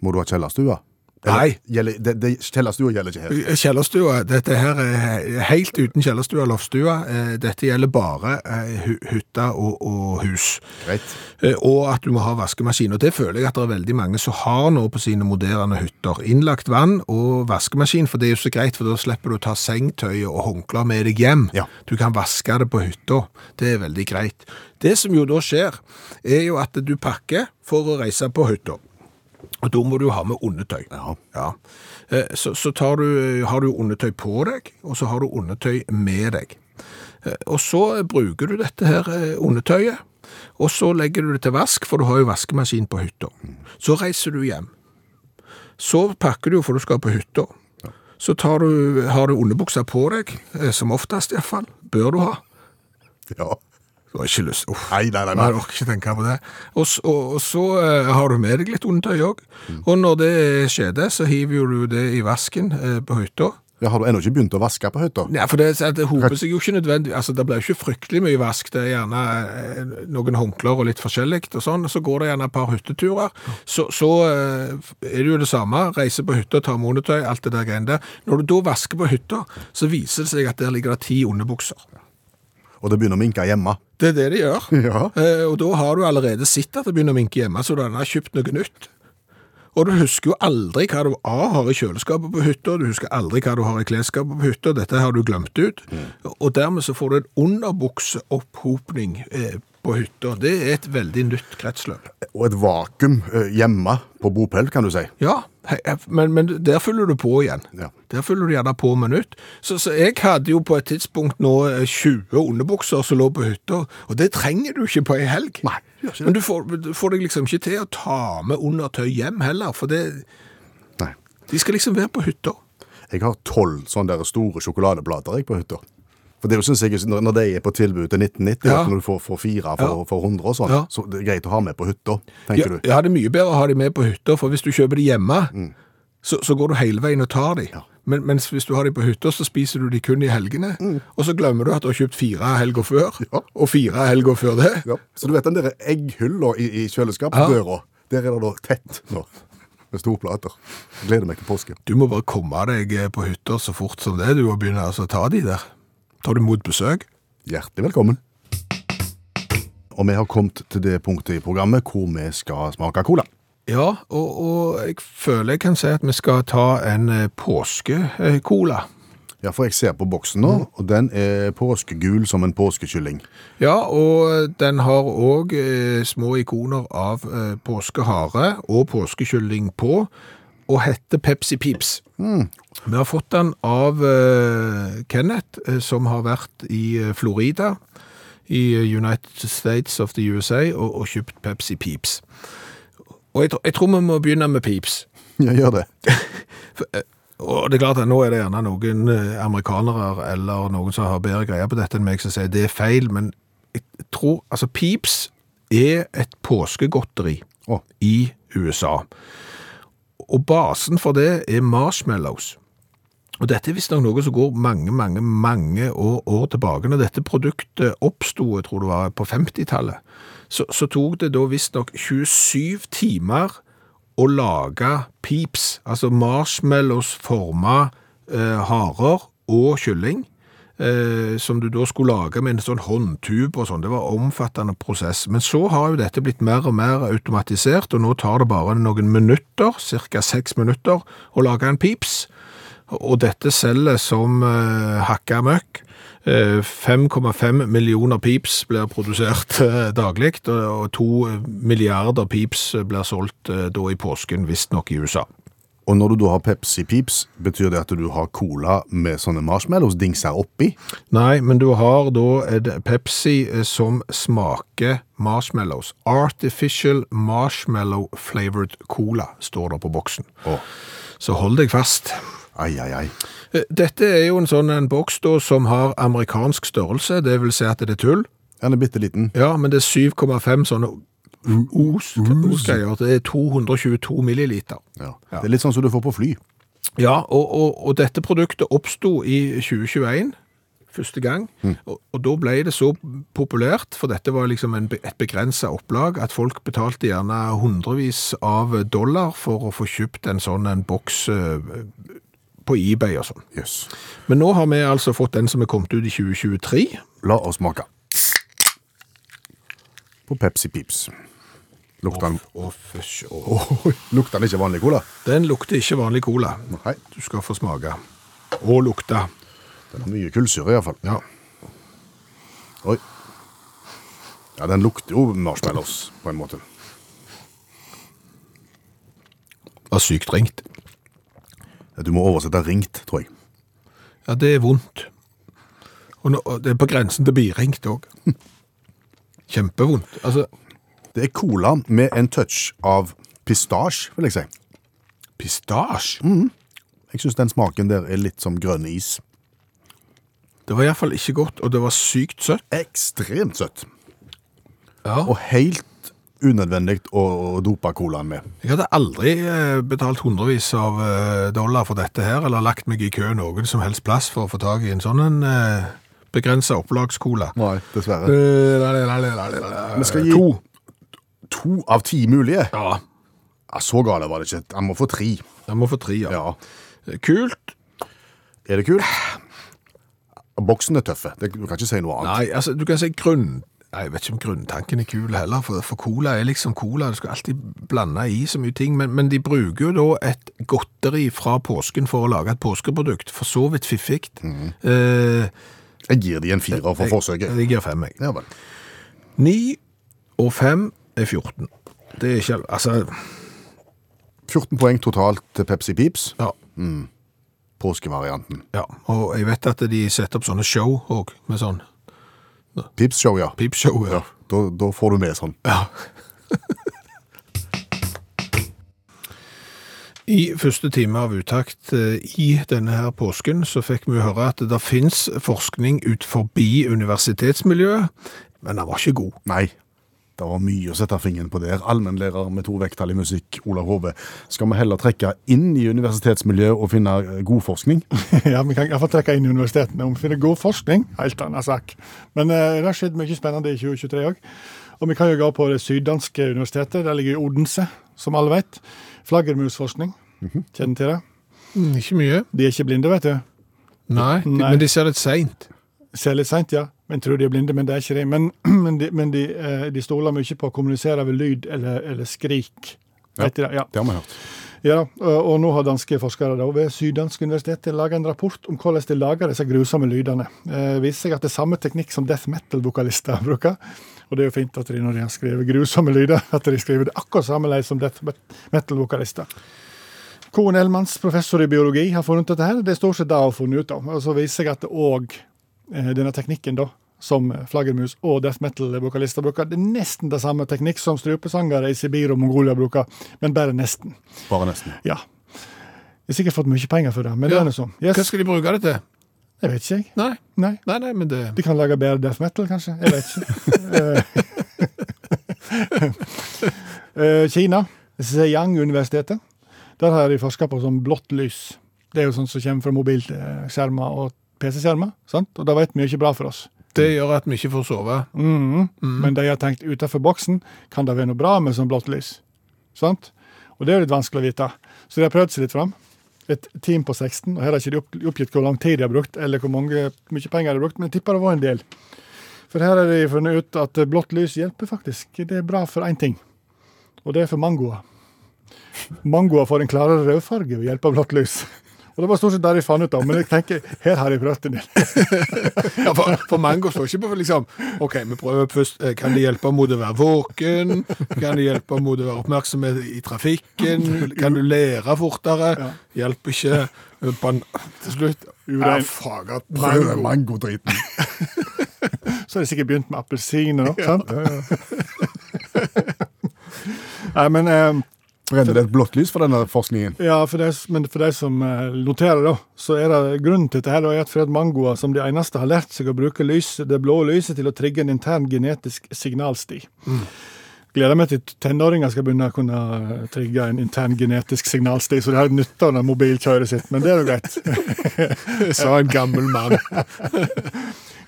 Må du ha kjellerstua? Nei. Gjelder, det, det, kjellerstua gjelder ikke her. Eh, Kjellerstua. Dette her er he- helt uten kjellerstua og loftstua. Eh, Dette gjelder bare eh, hy- hytta og, og hus. Greit. Eh, Og at du må ha vaskemaskin. Og det føler jeg at det er veldig mange som har nå på sine moderne hytter. Innlagt vann og vaskemaskin, for det er jo så greit, for da slipper du å ta sengetøyet og håndklær med deg hjem. Ja. Du kan vaske det på hytta. Det er veldig greit. Det som jo da skjer, er jo at du pakker for å reise på hytta. Og da må du ha med undertøy. Ja. Ja. Eh, Så, så tar du, har du undertøy på deg, og så har du undertøy med deg. Eh, Og så bruker du dette her eh, undertøyet, og så legger du det til vask, for du har jo vaskemaskin på hytta. Så reiser du hjem. Så pakker du, for du skal på hytta. Så tar du, har du underbuksa på deg, eh, som oftest iallfall. Bør du ha. Ja. Du har ikke lyst Uff. Nei, nei, nei, Nei, nei. jeg orker ikke tenke på det. Og, s- og, og så eh, har du med deg litt undertøy òg. Mm. Og når det skjedde, så hiver jo du det i vasken eh, på hytta. Ja, har du ennå ikke begynt å vaske på hytta? Nei, for det, så det hoper seg jo ikke nødvendig. Altså, det blir jo ikke fryktelig mye vask. Det er gjerne eh, noen håndklær og litt forskjellig og sånn. Så går det gjerne et par hytteturer. Så, så eh, er det jo det samme. Reise på hytta, ta med undertøy, alt det der greiene der. Når du da vasker på hytta, så viser det seg at der ligger det ti underbukser. Og det begynner å minke hjemme. Det er det de gjør. Ja. Eh, Og da har du allerede sett at det begynner å minke hjemme, så du har kjøpt noe nytt. Og du husker jo aldri hva du A har i kjøleskapet på hytta, du husker aldri hva du har i klesskapet på hytta, dette har du glemt ut. Og dermed så får du en underbukseopphopning eh, på hytta. Det er et veldig nytt kretsløp. Og et vakuum eh, hjemme på bopel, kan du si. Ja, he- he- men, men der fyller du på igjen. Ja. Der fyller du gjerne på med nytt. Så, så jeg hadde jo på et tidspunkt nå eh, 20 underbukser som lå på hytta, og det trenger du ikke på ei helg. Nei, gjør ikke det. Men du får, du får deg liksom ikke til å ta med undertøy hjem heller, for det, Nei. de skal liksom være på hytta. Jeg har tolv sånne der store sjokoladeplater jeg på hytta. For det er jo synes jeg, Når når de er på tilbud til 1990, Ja. at når du får, får fire for, Ja. for 100 og sånn, Ja. så det er greit å ha med på hytta, Ja, tenker du. Mm. ja, det er mye bedre å ha de med på hytta, for hvis du kjøper de hjemme, så, så går du hele veien og tar de. Men, mens hvis du har de på hytta, så spiser du de kun i helgene, Mm. og så glemmer du at du har kjøpt fire helger før, og fire helger før det. Ja. Så du vet den der egghylla i, i kjøleskapsdøra? Der er det da tett nå, med store plater. Gleder meg til påske. Du må bare komme deg eh, på hytta så fort som det, du, og begynne altså, å ta de der. Tar du imot besøk? Hjertelig velkommen. Og vi har kommet til det punktet i programmet hvor vi skal smake cola. Ja, og, og jeg føler jeg kan si at vi skal ta en eh, påskecola. Ja, for jeg ser på boksen nå, og den er påskegul som en påskekylling. *laughs* Ja, og den har òg eh, små ikoner av eh, påskehare og påskekylling på, og heter Pepsi Pips. Vi har fått den av eh, Kenneth, eh, som har vært i eh, Florida, i eh, United States of the USA, og, og kjøpt Pepsi Pips. Og jeg, tr- jeg tror vi må begynne med Pips. Ja, gjør det. Og det er klart at nå er det gjerne noen eh, amerikanere eller noen som har bedre greier på dette enn meg, som sier det er feil, men jeg tror Altså, Pips er et påskegodteri Å. i USA. Og basen for det er marshmallows. Og dette er visstnok noe som går mange, mange, mange år, år tilbake. Når dette produktet oppsto, jeg tror det var på 50-tallet, så, så tok det da visstnok 27 timer å lage pips, altså marshmallows forma eh, harer og kylling, eh, som du da skulle lage med en sånn håndtube og sånn. Det var en omfattende prosess. Men så har jo dette blitt mer og mer automatisert, og nå tar det bare noen minutter, ca. seks minutter, å lage en pips. Og dette selger som uh, hakka møkk. Eh, 5,5 millioner pips blir produsert uh, daglig, og, og 2 milliarder pips blir solgt eh, da i påsken, visstnok i USA. Og når du da har Pepsi Pips, betyr det at du har cola med sånne marshmallows-dingser oppi? Nei, men du har da et Pepsi eh, som smaker marshmallows. Artificial Marshmallow Flavored Cola står det på boksen. Å. Så hold deg fast. Ai, ai, ai. Eh, Dette er jo en sånn en boks da som har amerikansk størrelse, det vil si at det er tull. Den er bitte liten. Ja, men det er 7,5 sånne os- osgreier. Det er 222 milliliter. Ja. Det er litt sånn som du får på fly. Ja, og, og, og dette produktet oppsto i 2021. Første gang. Og, og da ble det så populært, for dette var liksom en, be- et begrensa opplag, at folk betalte gjerne hundrevis av dollar for å få kjøpt en sånn en boks eh, på eBay og sånn. Jøss. Men nå har vi altså fått den som er kommet ut i 2023. La oss smake. På Pepsi Pips. Lukter den, Å, fysj. å. lukter den ikke vanlig cola? Den lukter ikke vanlig cola. Nei. Du skal få smake. Og lukte. Den har mye kullsyre iallfall. Ja. Oi. Ja, den lukter jo marshmallows, på en måte. Var sykt ringt. Du må oversette ringt, tror jeg. Ja, det er vondt. Og nå, og det er på grensen til biringt òg. *laughs* Kjempevondt. Altså, Det er cola med en touch av pistasje, vil jeg si. Mm. pistasje Jeg syns den smaken der er litt som grønn is. Det var iallfall ikke godt, og det var sykt søtt. Ekstremt søtt. Ja. Og helt unødvendig å å dope colaen med. Jeg hadde aldri eh, betalt hundrevis av eh, dollar for dette her, eller lagt meg i kø noen som helst plass for å få tak i en sånn en eh, begrensa opplagscola. Eh, Nei, dessverre. Vi skal gi- To. To av ti mulige? Ja, Ja, så gale var det ikke. Han må få tre. jeg må få tre, ja. Ja. Kult. Er det kult? Boksen er tøffe. Det, du kan ikke si noe annet. Nei, altså, du kan si grunn... Nei, jeg vet ikke om grunntanken er kul heller, for, for cola er liksom cola, du skal alltid blande i så mye ting, men, men de bruker jo da et godteri fra påsken for å lage et påskeprodukt, for så vidt fiffikt. Eh, Jeg gir de en firer for forsøket. jeg gir fem, jeg. Mhm. Ja vel. Ni og fem er 14. Det er ikke... Altså, 14 poeng totalt til Pepsi Pips, ja. påskevarianten. ja. Og jeg vet at de setter opp sånne show også, med sånn Pips-show, ja. pipshow. ja. Da, da får du med sånn. I første time av uttakt eh, i denne her påsken så fikk vi høre at det finnes forskning ut forbi universitetsmiljøet, men den var ikke god. Nei. Det var mye å sette fingeren på der. Allmennlærer med to vekttall i musikk, Olav Hove. Skal vi heller trekke inn i universitetsmiljøet og finne eh, god forskning? ja, Vi kan iallfall trekke inn universitetene. Om vi finner god forskning, helt annen sak. Men eh, det har skjedd mye spennende i 2023 òg. Og vi kan jo gå på det syddanske universitetet. Det ligger i Odense, som alle vet. Flaggermusforskning. Kjenner til det? Ikke mye. De er ikke blinde, vet du. Nei, de- Nei. men de ser litt seint. Ser litt seint, ja. Men tror de er blinde, men det er ikke de. Men, *clears throat* men, de, men de, eh, de stoler mye på å kommunisere ved lyd eller, eller skrik. Vet du det? Ja. Det har vi hørt. Ja, eh, og og nå har danske forskere da, ved Syddansk universitet laga en rapport om hvordan de lager disse grusomme lydene. Eh, Det viser seg at det er samme teknikk som death metal-vokalister *laughs* bruker. Og det er jo fint at de når de har skrevet grusomme lyder, at de skriver det akkurat samme lei som death metal-vokalister. Koen Elmans, professor i biologi, har funnet ut dette her. Det står ikke det hun har funnet ut av. Og så viser seg at det òg eh, denne teknikken, da, som flaggermus og death metal-vokalister bruker, det er nesten det samme teknikk som strupesangere i Sibir og Mongolia bruker, men bare nesten. Bare nesten. Ja. Jeg har sikkert fått mye penger for det, men det Ja. er nå sånn. Hva Yes. skal de bruke det til? Jeg vet ikke, jeg. Nei, Nei. nei, nei men det De kan lage bedre death metal, kanskje? Jeg vet ikke. *laughs* Eh, *laughs* Kina, Zeyang-universitetet, der har de forska på sånn blått lys. Det er jo sånt som kommer fra mobilskjermer og PC-skjermer, sant? og det vet vi jo ikke bra for oss. Det gjør at vi ikke får sove. Mm. Men de har tenkt utenfor boksen, kan det være noe bra med sånn blått lys? Sant? Og det er jo litt vanskelig å vite. Så de har prøvd seg litt fram. Et team på 16, og her har ikke de opp- oppgitt hvor lang tid de har brukt, eller hvor mange, mye penger de har brukt, men jeg tipper det var en del. For her har de funnet ut at blått lys hjelper faktisk. Det er bra for én ting, og det er for mangoer. Mangoer får en klarere rødfarge ved hjelp av blått lys. Og det var stort sett det de fant ut av, men jeg tenker, her har de prøvd en del. Ja, for, for mango står ikke på liksom OK, vi prøver først. eh, Kan det hjelpe mot å være våken? Kan det hjelpe mot å være oppmerksomhet i trafikken? Kan du lære fortere? Hjelper ikke. eh, Ban til slutt Urein- Ja, fager, Prøv den mango. mangodriten. Så har de sikkert begynt med appelsiner nå. sant? *laughs* Nei, men, eh, Brenner det et blått lys for denne *laughs* forskningen? ja, for de, men for de som eh, noterer, da, så er det grunnen til dette her, da, er at fordi mangoer som de eneste har lært seg å bruke lys, det blå lyset til å trigge en intern genetisk signalsti. Gleder meg til tenåringer skal begynne å kunne eh, trigge en intern genetisk signalsti, så de har nytte av det mobilkjøret sitt, men det er jo greit. Sa en gammel mann.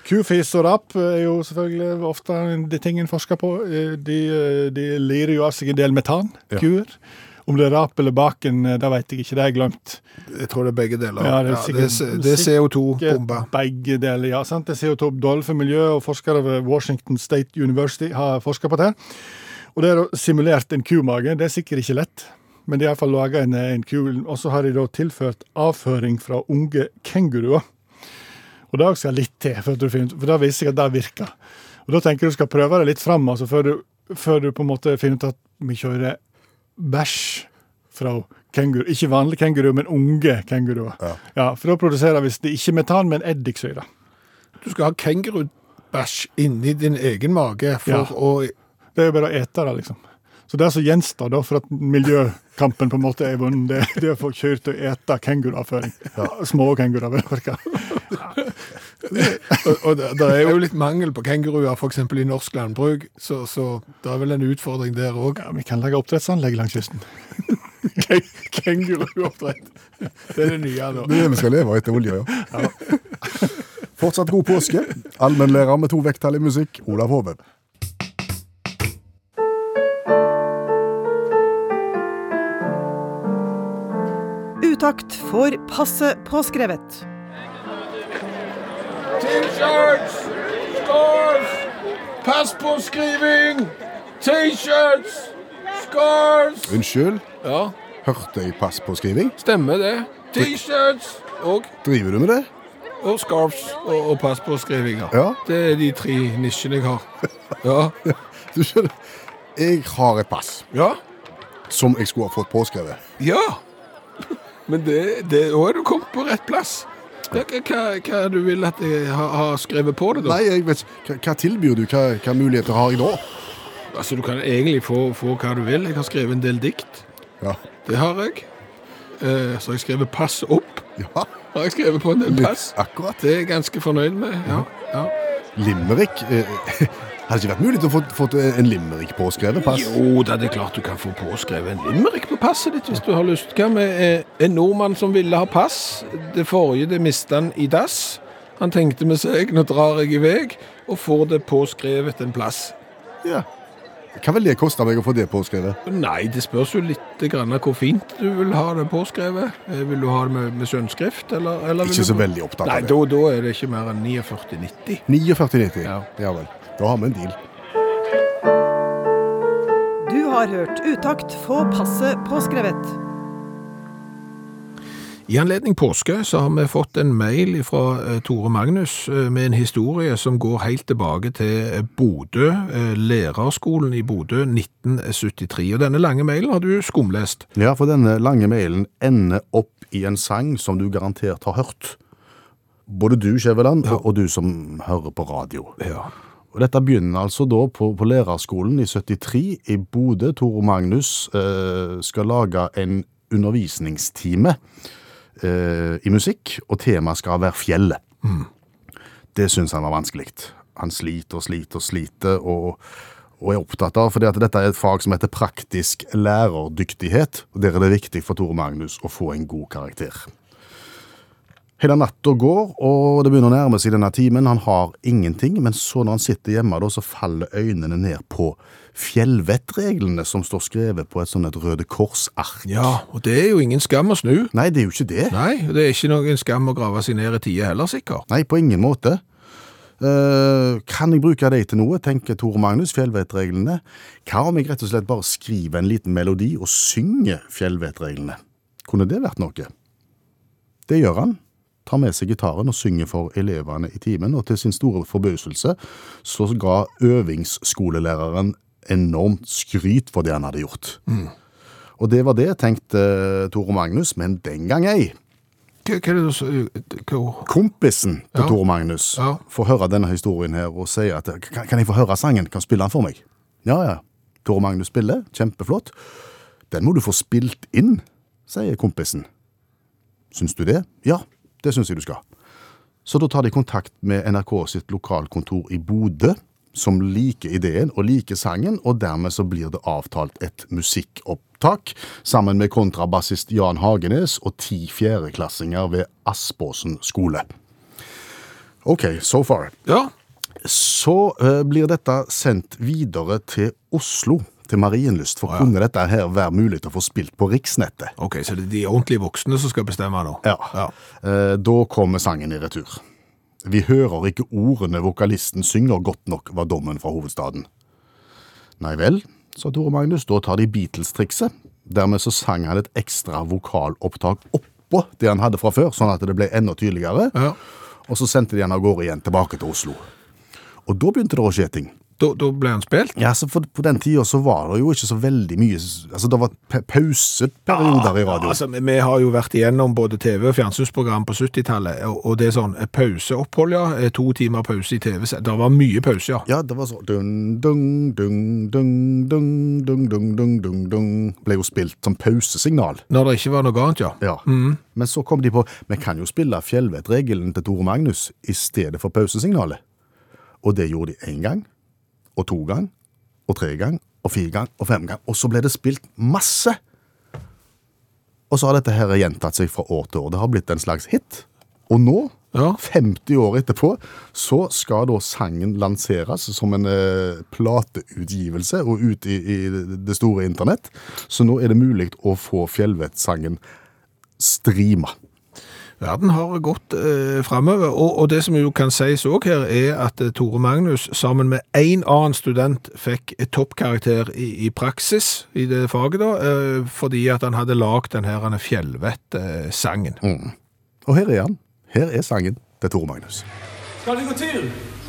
Kufis og rap eh, er jo selvfølgelig ofte de tingene forsker på. Eh, De, eh, de lirer jo av seg en del metankuer. Om det er rap eller baken, eh, det vet jeg ikke, det har jeg glemt. Jeg tror det er begge deler. Ja, det er det, er, sikkert- det er CO2-bomba. Begge deler, ja. sant? Det er CO2 dårlig for miljøet, og forskere ved Washington State University har forska på det. Og det er da simulert en kumage. Det er sikkert ikke lett, men de har iallfall laga en, en ku. Og så har de da tilført avføring fra unge kenguruer. Og det skal litt til, for, at du finner, ut- for da viser jeg at det virker. Og da tenker jeg du skal prøve det litt fram, altså, før, du, før du på en måte finner ut at vi kjører bæsj fra kenguru. Ikke vanlig kenguru, men unge kenguruer. Ja. for da produserer hvis det ikke metan, men eddiksyre. Du skal ha kengurubæsj inni din egen mage for Ja. å Det er jo bare å ete det, liksom. Så det som gjenstår da for at miljøkampen på en måte er vunnet, det, det er å få kyr til å ete kenguruavføring. Små kenguruer, vel å merke. Og, og det, det er jo litt mangel på kenguruer, f.eks. i norsk landbruk, så, så det er vel en utfordring der òg. Ja, vi kan legge oppdrettsanlegg langs kysten. Kenguruoppdrett. Det er det nye nå. Det er det vi skal leve av etter olje, ja. Fortsatt god påske. Allmennlærer med to vekttall i musikk, Olav Hove. Utakt får passe påskrevet. T-shirts! Scarves! Pass på skriving! T-shirts! Scarves! Unnskyld, Ja, hørte jeg pass på skriving? stemmer det. T-shirts og, Driver du med det? og scarves og, og pass på skrivinger. Ja. Det er de tre nisjene jeg har. Ja. Du skjønner, jeg har et pass ja. som jeg skulle ha fått påskrevet. Ja. Men det, det, da er du kommet på rett plass. Hva, hva, hva du vil at jeg har har skrevet på det, da? Nei, jeg vet ikke. Hva- Hva tilbyr du? Hva, hva muligheter har jeg da? Altså, Du kan egentlig få, få hva du vil. Jeg har skrevet en del dikt. Ja. Det har jeg. Eh, så har jeg skrevet 'pass opp'. ja. Har jeg skrevet på en del pass. Litt akkurat. Det er jeg ganske fornøyd med. ja. ja. Limerick? eh, Hadde ikke vært mulig å få fått en limerick påskrevet pass? Jo da, det er klart du kan få påskrevet en limerick på passet ditt hvis du har lyst. Hva med eh, en nordmann som ville ha pass? Det forrige det mista han i dass. Han tenkte med seg 'nå drar jeg i veg', og får det påskrevet en plass. Ja. Hva vil det koste meg å få det påskrevet? Nei, det spørs jo litt grann av hvor fint du vil ha det påskrevet. Eh, Vil du ha det med, med sønnskrift, eller, eller vil Ikke du- så veldig opptatt Nei, av det. da, da er det ikke mer enn 49,90. 49,90. Ja. ja vel. Da har vi en deal. Du har hørt Utakt få passe påskrevet. I anledning påske så har vi fått en mail fra Tore Magnus eh, med en historie som går helt tilbake til eh, Bodø, eh, lærerskolen i Bodø 1973. Og denne lange mailen har du skumlest. Ja, for denne lange mailen ender opp i en sang som du garantert har hørt. Både du, Skjæveland, og, og du som hører på radio. Ja. Og dette begynner altså da på, på lærerskolen i 73 i Bodø. Tore Magnus eh, skal lage en undervisningstime eh, i musikk, og temaet skal være fjellet. Det syns han var vanskelig. Han sliter og sliter og sliter, og, og er opptatt av, fordi at dette er et fag som heter praktisk lærerdyktighet, og der er det viktig for Tore Magnus å få en god karakter. Hele natta går, og det begynner å nærme seg denne timen. Han har ingenting, men så når han sitter hjemme, da, så faller øynene ned på fjellvettreglene som står skrevet på et sånn et Røde Kors-ark. ja, og det er jo ingen skam å snu. Nei, det er jo ikke det. Nei, og det er ikke noen skam å grave seg ned i tida heller, sikkert. Nei, på ingen måte. Eh, kan jeg bruke deg til noe, tenker Tore Magnus, fjellvettreglene. Hva om jeg rett og slett bare skriver en liten melodi og synger fjellvettreglene? Kunne det vært noe? Det gjør han. Tar med seg gitaren og synger for elevene i timen, og til sin store forbauselse så ga øvingsskolelæreren enormt skryt for det han hadde gjort. Og det var det, tenkte Tore Magnus, men den gang ei. Hva, hva er det du s- hva- Kompisen til Ja. Tore Magnus Ja. får høre denne historien her og sier at kan, kan jeg få høre sangen? Kan du spille den for meg? Ja, ja. Tore Magnus spiller, kjempeflott. Den må du få spilt inn, sier kompisen. Syns du det? Ja, det syns jeg du skal. Så da tar de kontakt med NRK sitt lokalkontor i Bodø, som liker ideen og liker sangen, og dermed så blir det avtalt et musikkopptak sammen med kontrabassist Jan Hagenes og ti fjerdeklassinger ved Aspåsen skole. OK, so far. Ja, Så eh, blir dette sendt videre til Oslo, til Marienlyst, for kunne dette her være mulig å få spilt på riksnettet? ok, så det er de ordentlige voksne som skal bestemme nå. Ja. Eh, Da kommer sangen i retur. Vi hører ikke ordene vokalisten synger godt nok, var dommen fra hovedstaden. Nei vel, sa Tore Magnus, da tar de Beatles-trikset. Dermed så sang han et ekstra vokalopptak oppå det han hadde fra før, sånn at det ble enda tydeligere. Ja. Og så sendte de han av gårde igjen tilbake til Oslo. Og da begynte det å skje ting. Da, da ble han spilt? Ja, så for, På den tida så var det jo ikke så veldig mye Altså, det var pa- pauseperioder i radio. Altså, vi- vi har jo vært igjennom både TV- og fjernsynsprogram på 70-tallet, og, og det er sånn eh, pauseopphold, ja. eh, To timer pause i TV. så Det var mye pause, ja. Ja, det var så dun, dun, dun, dun, dun, dun, dun, dun, dun, dun. Ble jo spilt som pausesignal. Når det ikke var noe annet, ja. Mm. Ja. Men så kom de på Vi kan jo spille fjellvettregelen til Tore Magnus i stedet for pausesignalet. Og det gjorde de én gang, og to gang, og tre gang, og fire gang, og fem gang. Og så ble det spilt masse! Og så har dette her gjentatt seg fra år til år. Det har blitt en slags hit. Og nå, Ja. 50 år etterpå, så skal da sangen lanseres som en eh, plateutgivelse og ut i, i det store internett. Så nå er det mulig å få Fjellvettsangen streama. Verden har gått eh, framover, og, og det som jo kan sies òg her, er at eh, Tore Magnus sammen med én annen student fikk et toppkarakter i, i praksis i det faget, da, eh, fordi at han hadde lagd den her Fjellvett-sangen. Mm. Og her er han. Her er sangen til Tore Magnus. Skal vi gå tur?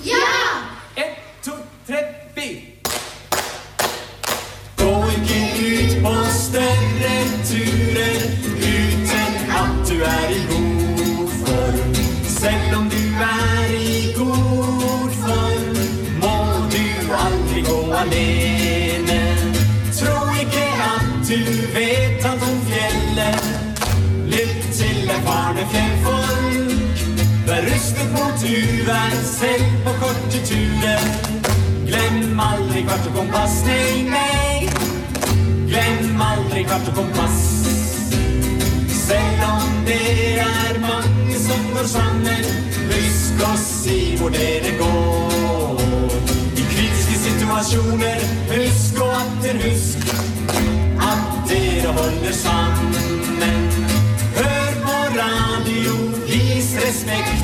Ja! Ett, to, tre, vi! Gå ikke ut på større turer uten at du er i god form. Selv om du er i god form, må du aldri gå alene. Tro ikke at du vet alt om fjellet. Lytt til erfarne fjellfolk. Vær rustet mot uvær selv på korte turer. Glem aldri kvart og kompass, nei, nei. Glem aldri kvart og kompass. Selv om det er mange som går sammen, husk å si hvor dere går. I kritiske situasjoner, husk og atter husk at dere holder sammen. Hør på radio, vis respekt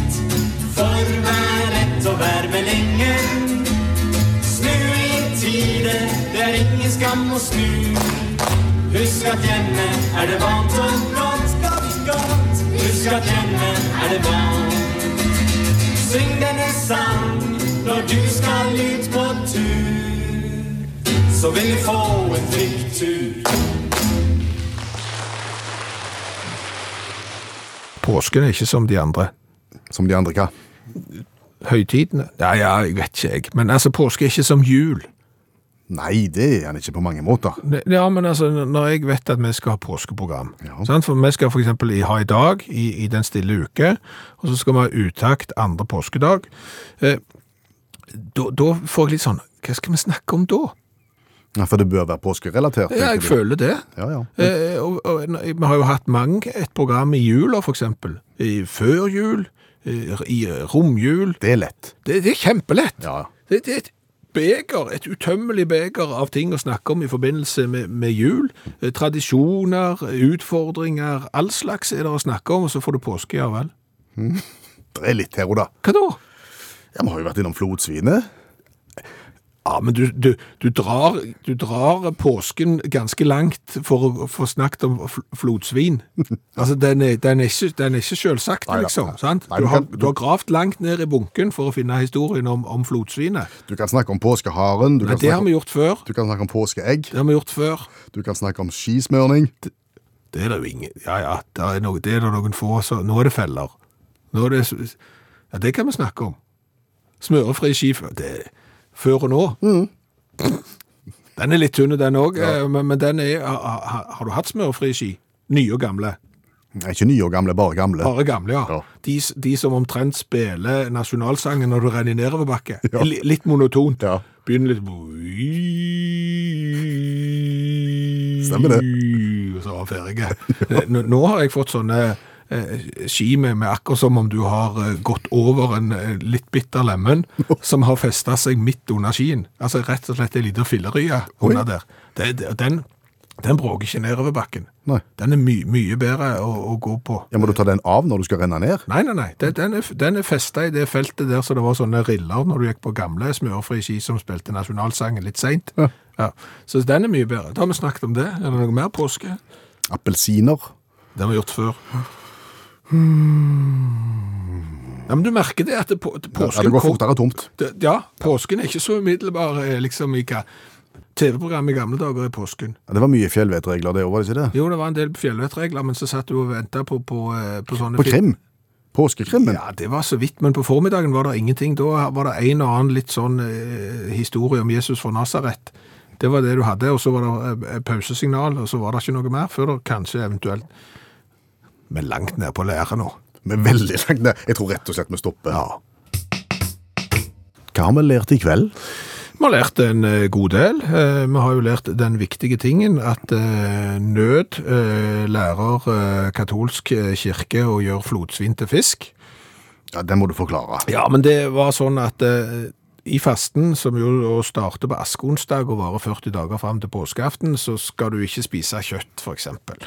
for hver ett og hver meldingen. Snu i tide, det er ingen skam å snu. Husk at hjemme er det varmt og godt, godt, godt. Husk at hjemme er det varmt. Syng denne sang når du skal ut på tur. Så vil du få en trygg tur. Påsken er ikke som de andre. Som de andre hva? Høytidene? Ja, ja, jeg vet ikke, jeg. Men altså, påske er ikke som jul. Nei, det er han ikke på mange måter. Ne- Ja, men altså, når jeg vet at vi skal ha påskeprogram, sant? for vi skal for eksempel i- ha i dag, i, i den stille uke, og så skal vi ha uttakt andre påskedag, eh, da da får jeg litt sånn, hva skal vi snakke om da? Ja, For det bør være påskerelatert. Ja, jeg tenker du. føler det. Ja, ja. Eh, og, og, n- vi har jo hatt mange et program i jula, for eksempel. I før jul, eh, i eh, romjul. Det er lett. Det, det er kjempelett. Ja, ja. Det, det er et beger, et utømmelig beger av ting å snakke om i forbindelse med, med jul. Eh, Tradisjoner, utfordringer, all slags er det å snakke om, og så får du påske, ja vel. Det er litt her og da. Hva da? Ja, Vi har jo vært innom flodsvinet. Ja, men du, du, du, drar, du drar påsken ganske langt for å få snakket om fl- *laughs* flodsvin. Altså, den er, den er ikke, den er ikke selvsagt, Neida. liksom. Sant? Nei, Du, men har, kan- du har gravd langt ned i bunken for å finne historien om, om flodsvinet. Du kan snakke om påskeharen. Du, Men kan det har snakke, vi gjort før. om- du kan snakke om påskeegg. Det har vi gjort før. Du kan snakke om skismørning. Det er det jo ingen Ja, ja, det er, noe, det er det noen få så, Nå er det feller. Nå er det s- Ja, det kan vi snakke om. Smørefri ski før- det, er før og nå. Mm. Den er litt tynn, den òg, men, men den er ha- ha- Har du hatt smørefri ski? Nye og gamle. Nei, ikke nye og gamle, bare gamle. Bare gamle, ja. Ja. De, s- de som omtrent spiller nasjonalsangen når du renner nedoverbakke. Ja. Litt monotont. Ja. Begynner litt Stemmer det. Og så var han ferdig. Eh, Nå, nå har jeg fått sånne eh, ski med, med akkurat som om du har eh, gått over en eh, litt bitter *laughs* lemen som har festa seg midt under skien. Altså rett og slett en liten fillerye under der. Det, det, den, den bråker ikke nedover bakken. Nei. Den er my, mye bedre å, å gå på. Ja, Må du ta den av når du skal renne ned? Nei, nei, nei. Den, den er, den er festa i det feltet der så det var sånne riller når du gikk på gamle smørfri ski som spilte nasjonalsangen litt seint. Ja. Så den er mye bedre. Da har vi snakket om det. Er det noe mer påske? Appelsiner. Det har vi gjort før. Ja, men du merker det at det på, det, Ja, påsken det går kom- fortere tomt. det, ja, påsken er ikke så umiddelbar eh, liksom i hva TV-program i gamle dager er påsken. Ja, det var mye fjellvettregler, det òg, var det ikke det? Jo, det var en del fjellvettregler, men så satt du og venta på, på, eh, på sånne På fil- krim. Påskekrimmen. Ja, det var så vidt, men på formiddagen var det ingenting. Da var det en og annen litt sånn eh, historie om Jesus fra Nazaret. Det var det du hadde, og så var det eh, pausesignal, og så var det ikke noe mer før det kanskje eventuelt Men langt ned på læret nå. Men veldig langt ned. Jeg tror rett og slett vi stopper. Hva har vi lært i kveld? Vi har lært en eh, god del. Eh, Vi har jo lært den viktige tingen at eh, nød eh, lærer eh, katolsk eh, kirke å gjøre flodsvin til fisk. Ja, Den må du forklare. Ja, men det var sånn at eh, i fasten, som jo da starter på askeonsdag og varer 40 dager fram til påskeaften, så skal du ikke spise kjøtt, for eksempel.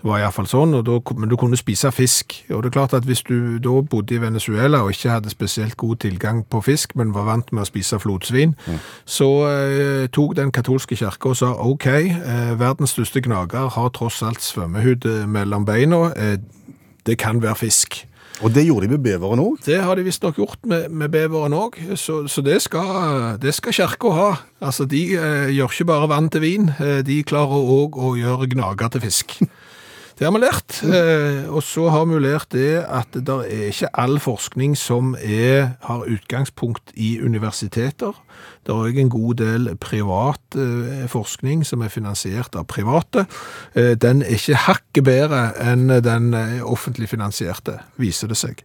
Det var iallfall sånn, og da, men du kunne spise fisk. Og det er klart at hvis du da bodde i Venezuela og ikke hadde spesielt god tilgang på fisk, men var vant med å spise flodsvin, så eh, tok den katolske kirka og sa OK, eh, verdens største gnager har tross alt svømmehud eh, mellom beina, eh, det kan være fisk. Og det gjorde de med beveren òg. Det har de visstnok gjort med, med beveren òg, så, så det skal, det skal kirka ha. Altså, De eh, gjør ikke bare vann til vin, eh, de klarer òg å gjøre gnager til fisk. *laughs* Det har vi lært. Eh, og så har vi lært det at det er ikke all forskning som er, har utgangspunkt i universiteter. Det er òg en god del privat eh, forskning som er finansiert av private. Eh, den er ikke hakket bedre enn den eh, offentlig finansierte, viser det seg.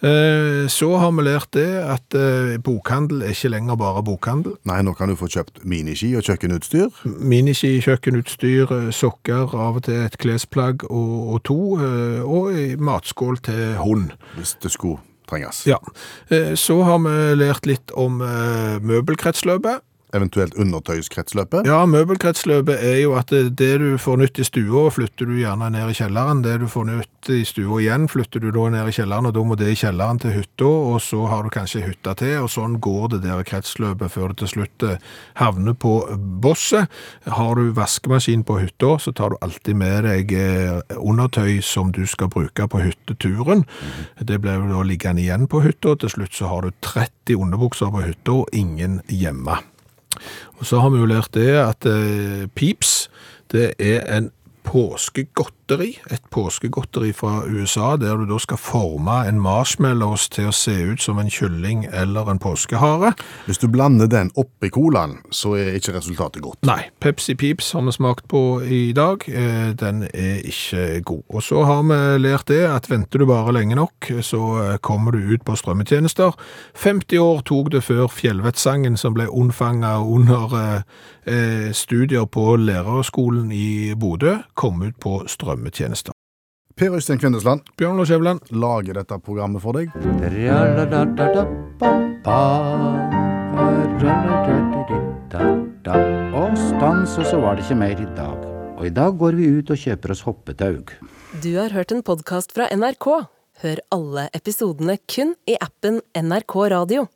Eh, så har vi lært det at eh, bokhandel er ikke lenger bare bokhandel. Nei, nå kan du få kjøpt miniski og kjøkkenutstyr. Miniski, kjøkkenutstyr, eh, sokker, av og til et klesplagg og, og to, eh, og en matskål til hund. Hvis det skulle trenges. Ja. Eh, Så har vi lært litt om eh, møbelkretsløpet. eventuelt undertøyskretsløpet. Ja, møbelkretsløpet er jo at det, det du får nytt i stua, flytter du gjerne ned i kjelleren. Det du får nytt i stua igjen, flytter du da ned i kjelleren, og da må det i kjelleren til hytta, og så har du kanskje hytta til, og sånn går det der kretsløpet før det til slutt eh, havner på bosset. Har du vaskemaskin på hytta, så tar du alltid med deg eh, undertøy som du skal bruke på hytteturen. Det blir jo da liggende igjen på hytta, og til slutt så har du 30 underbukser på hytta, og ingen hjemme. Og så har vi jo lært det at eh, Pips, det er en påskegodteri, et påskegodteri fra USA, der du da skal forme en marshmallows til å se ut som en kylling eller en påskehare. Hvis du blander den oppi colaen, så er ikke resultatet godt. Nei, Pepsi Pips har vi smakt på i dag. Eh, Den er ikke god. Og så har vi lært det at venter du bare lenge nok, så eh, kommer du ut på strømmetjenester. 50 år tok det før Fjellvettsangen som ble unnfanga under eh, eh, studier på lærerskolen i Bodø, kom ut på strømmetjenester. Per Øystein Kvindesland Bjørn Lars Skjæveland, lager dette programmet for deg. Og stans, og så var det ikke mer i dag. Og i dag går vi ut og kjøper oss hoppetaug. Du har hørt en podkast fra NRK. Hør alle episodene kun i appen NRK Radio.